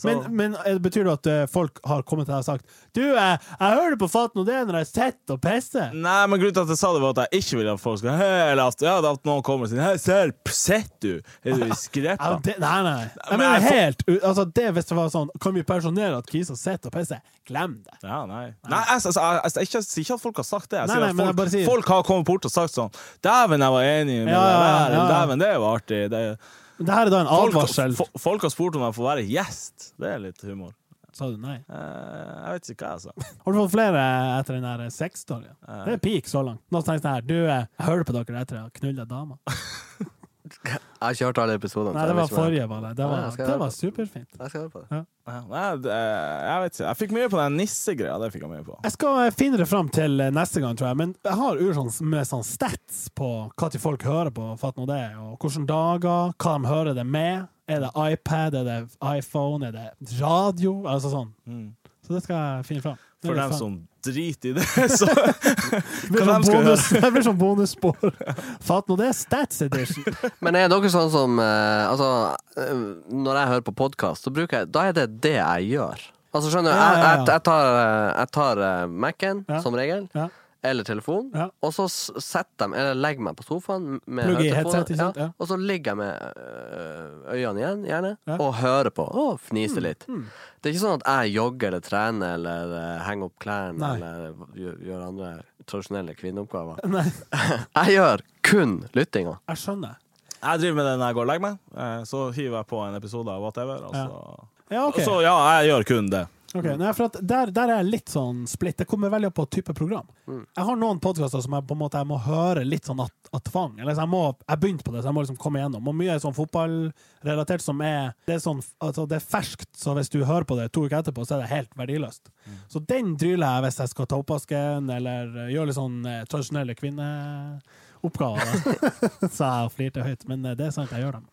S1: Så-
S2: Men, men eh, betyr det at eh, folk har kommet til deg og sagt Du, jeg, jeg hører på Faten og det når jeg sitter og pisser.
S1: Nei, men grunnen til at jeg sa det var at jeg ikke ville at folk skulle Hei, eller at, ja, da at noen kommer og sier Hei, Serp, sitt du? Er du i
S2: Ja,
S1: skrepa?
S2: det, nei, nei. Jeg
S1: Men
S2: mener
S1: jeg får-
S2: helt u- altså, det Hvis det var sånn Kan vi pensjonere at Kisa sitter og pisser? Glem det.
S1: Ja, nei. Nei, jeg, altså, jeg, jeg, jeg, ikke- sier ikke at folk har sagt det. Jeg
S2: Nei,
S1: sier
S2: nei,
S1: at
S2: men jeg
S1: folk,
S2: bare sier-
S1: folk har kommet bort og sagt sånn Dæven, jeg var enig med
S2: Ja,
S1: deg
S2: ja,
S1: der.
S2: ja, ja.
S1: Dæven, det var artig. Det,
S2: Men det her er da en
S1: folk,
S2: advarsel.
S1: fo- folk har spurt om jeg får være gjest. Det er litt humor.
S2: Sa du nei?
S1: Eh, jeg vet ikke hva jeg sa.
S2: Har du fått flere etter den der sexstoryen? Det er peak så langt. Nå tenker jeg sånn her, du, jeg hører på dere etter jeg har knulla dama.
S3: Jeg har kjørt alle episodene.
S2: Nei,
S3: så jeg
S2: det
S3: vet
S2: var
S3: ikke hva jeg-
S2: forrige, var det. Det
S3: liksom- Ja, jeg
S2: var,
S3: skal
S2: det
S3: høre
S2: var superfint.
S3: Jeg skal høre på det.
S1: Eh, Nei, det, jeg vet ikke. Jeg fikk mye på den nissegreia. Det fikk jeg mye på.
S2: Jeg skal eh, finne det fram til eh, neste gang, tror jeg. Men jeg har ur sånn, med sånn stats på hva til folk hører på, fatt nå det, og hvilke dager, hva de hører det med. Er det iPad, er det iPhone, er det radio? Altså sånn.
S1: Mm.
S2: Så det skal jeg finne fram. Det
S1: For
S2: blir
S1: dem
S2: fun.
S1: som driter i det, så
S2: Det blir
S1: hva dem
S2: sånn
S1: skal
S2: bonus, Det blir sånn bonusspor. Fatt nå det, stats edition.
S3: Men er dere sånn som eh, Altså, eh, når jeg hører på podkast, så bruker jeg Da er det det jeg gjør. Altså, skjønner du?
S2: Ja,
S3: Jeg,
S2: ja,
S3: jeg,
S2: ja.
S3: jeg tar, eh, jeg tar eh, Mac-en,
S2: Ja.
S3: som regel,
S2: Ja.
S3: eller telefon,
S2: Ja.
S3: og så s- setter jeg meg- eller legger meg på sofaen med
S2: Plugger i
S3: høretelefoner,
S2: headset, ikke sant? Ja.
S3: og så ligger jeg med eh, øynene igjen, gjerne,
S2: Ja. Mm,
S3: og hører på, og fniser litt. Det er ikke sånn at jeg jogger eller trener eller eh, henger opp klærne
S2: Nei.
S3: eller gjør, gjør andre tradisjonelle kvinneoppgaver.
S2: Nei,
S3: Jeg gjør kun lyttinga.
S2: jeg skjønner.
S1: Jeg driver med det når jeg går og legger meg. eh, Så hiver jeg på en episode av whatever. Og
S2: Ja.
S1: så,
S2: Ja, OK.
S1: og så ja, jeg gjør kun det.
S2: Ok,
S3: Mm.
S2: nei, for at der, der er jeg litt sånn splitt. Det kommer veldig opp på type program.
S3: Mm.
S2: Jeg har noen podkaster som jeg på en måte jeg må høre litt sånn at, at tvang. Eller så jeg må, jeg begynte på det, så jeg må liksom komme igjennom. Og mye er sånn fotballrelatert som er Det er sånn, altså det er ferskt, så hvis du hører på det to uker etterpå, så er det helt verdiløst.
S3: Mm.
S2: Så den dryler jeg hvis jeg skal ta oppvasken, eller eh, gjøre litt sånn eh, tradisjonelle kvinneoppgaver. da. så jeg flirte høyt, men eh, det er sant, jeg gjør dem.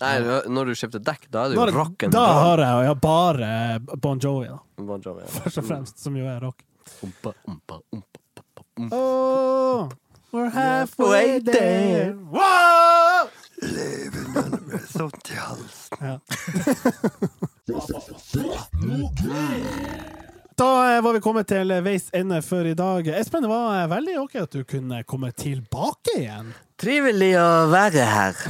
S3: Nei, når du skifter dekk, da er det
S2: Da,
S3: jo
S2: er det-
S3: rock and
S2: da
S3: roll.
S2: hører jeg jo bare eh, Bon Jovi, da,
S3: Bon Jovi, ja.
S2: først og fremst, som jo er rock.
S3: Umpa, umpa, umpa, umpa, umpa.
S2: Oh, we're halfway
S3: halfway
S2: there.
S3: there.
S2: Wow!
S3: Sånt i halsen.
S2: Da eh, var vi kommet til veis ende for i dag. Espen, det var eh, veldig ok at du kunne komme tilbake igjen.
S3: Trivelig å være her.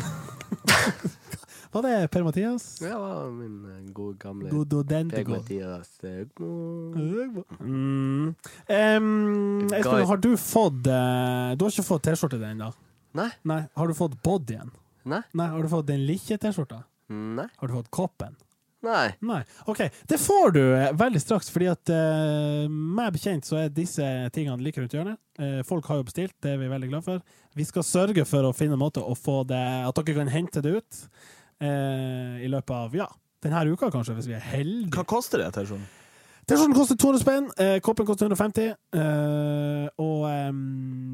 S2: Var det Per-Mathias?
S3: Det var min eh, gode gamle
S2: Gododentico.
S3: Peg-Mathias. eh, god-
S2: Mm. Em, Espen,
S3: Guy.
S2: har du fått eh, Du har ikke fått T-skjorte ennå?
S3: Nei.
S2: Nei. Har du fått bodyen?
S3: Nei.
S2: Nei. Har du fått den lille T-skjorta?
S3: Nei.
S2: Har du fått koppen?
S3: Nei.
S2: Nei. OK, det får du eh, veldig straks, fordi at eh, meg bekjent så er disse tingene like rundt hjørnet. Eh, folk har jo bestilt, det er vi veldig glad for. Vi skal sørge for å finne en måte å få det At dere kan hente det ut eh, i løpet av ja, denne uka, kanskje, hvis vi er heldige.
S1: Hva koster det? T-skjorten?
S2: T-skjorten koster 200 spenn, eh, koppen koster 150, eh, og eh,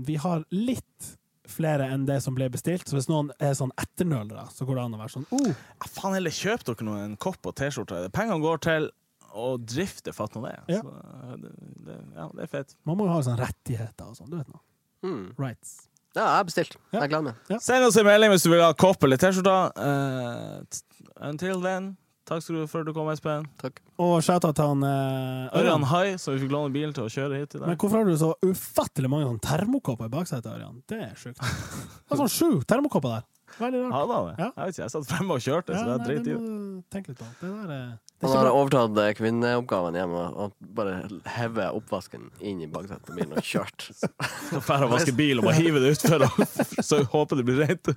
S2: vi har litt flere enn det som ble bestilt, så hvis noen er sånn etternølere, så går det an å være sånn oh,
S1: Ja, faen heller kjøp dere nå en kopp og T-skjorte. Pengene går til å drifte, fatt nå det.
S2: Ja.
S1: Så, eh, det, det. Ja, det er fett.
S2: Man må jo ha sånn rettigheter og sånn, du vet nå.
S3: Mm.
S2: Rights.
S3: Ja, jeg har bestilt.
S2: Ja.
S3: Jeg gleder meg.
S1: Send oss en melding hvis du vil ha kopp eller T-skjorte. Eh, t- until then, takk skal du for at du kom, Espen.
S3: Takk.
S2: Og shouta til han eh,
S1: Ørjan
S2: Ørjan.
S1: Hai, som vi fikk låne bilen til å kjøre hit i
S2: Men
S1: dag.
S2: hvorfor har du så ufattelig mange sånn termokopper i baksetet, Ørjan? Det er sjukt. Det er sånn sju termokopper der. Veldig rart.
S1: Hadde han det?
S2: Ja.
S1: Jeg vet ikke, jeg satt fremme og kjørte, så
S2: Ja,
S1: det er
S2: nei,
S1: drit i
S2: det
S1: det.
S2: må du tenke litt på. Det der er, det er
S3: Han
S2: ikke
S3: har
S2: bra.
S3: overtatt eh, kvinneoppgaven hjemme og bare hevet oppvasken inn i baksetet på bilen og kjørt.
S1: Skal fære å vaske bil og bare hive det utfor, og- så håper det blir rent.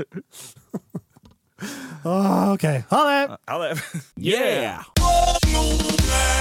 S2: Åh, Ah, OK. Ha det!
S1: Ja, det. Yeah!
S5: Nordland.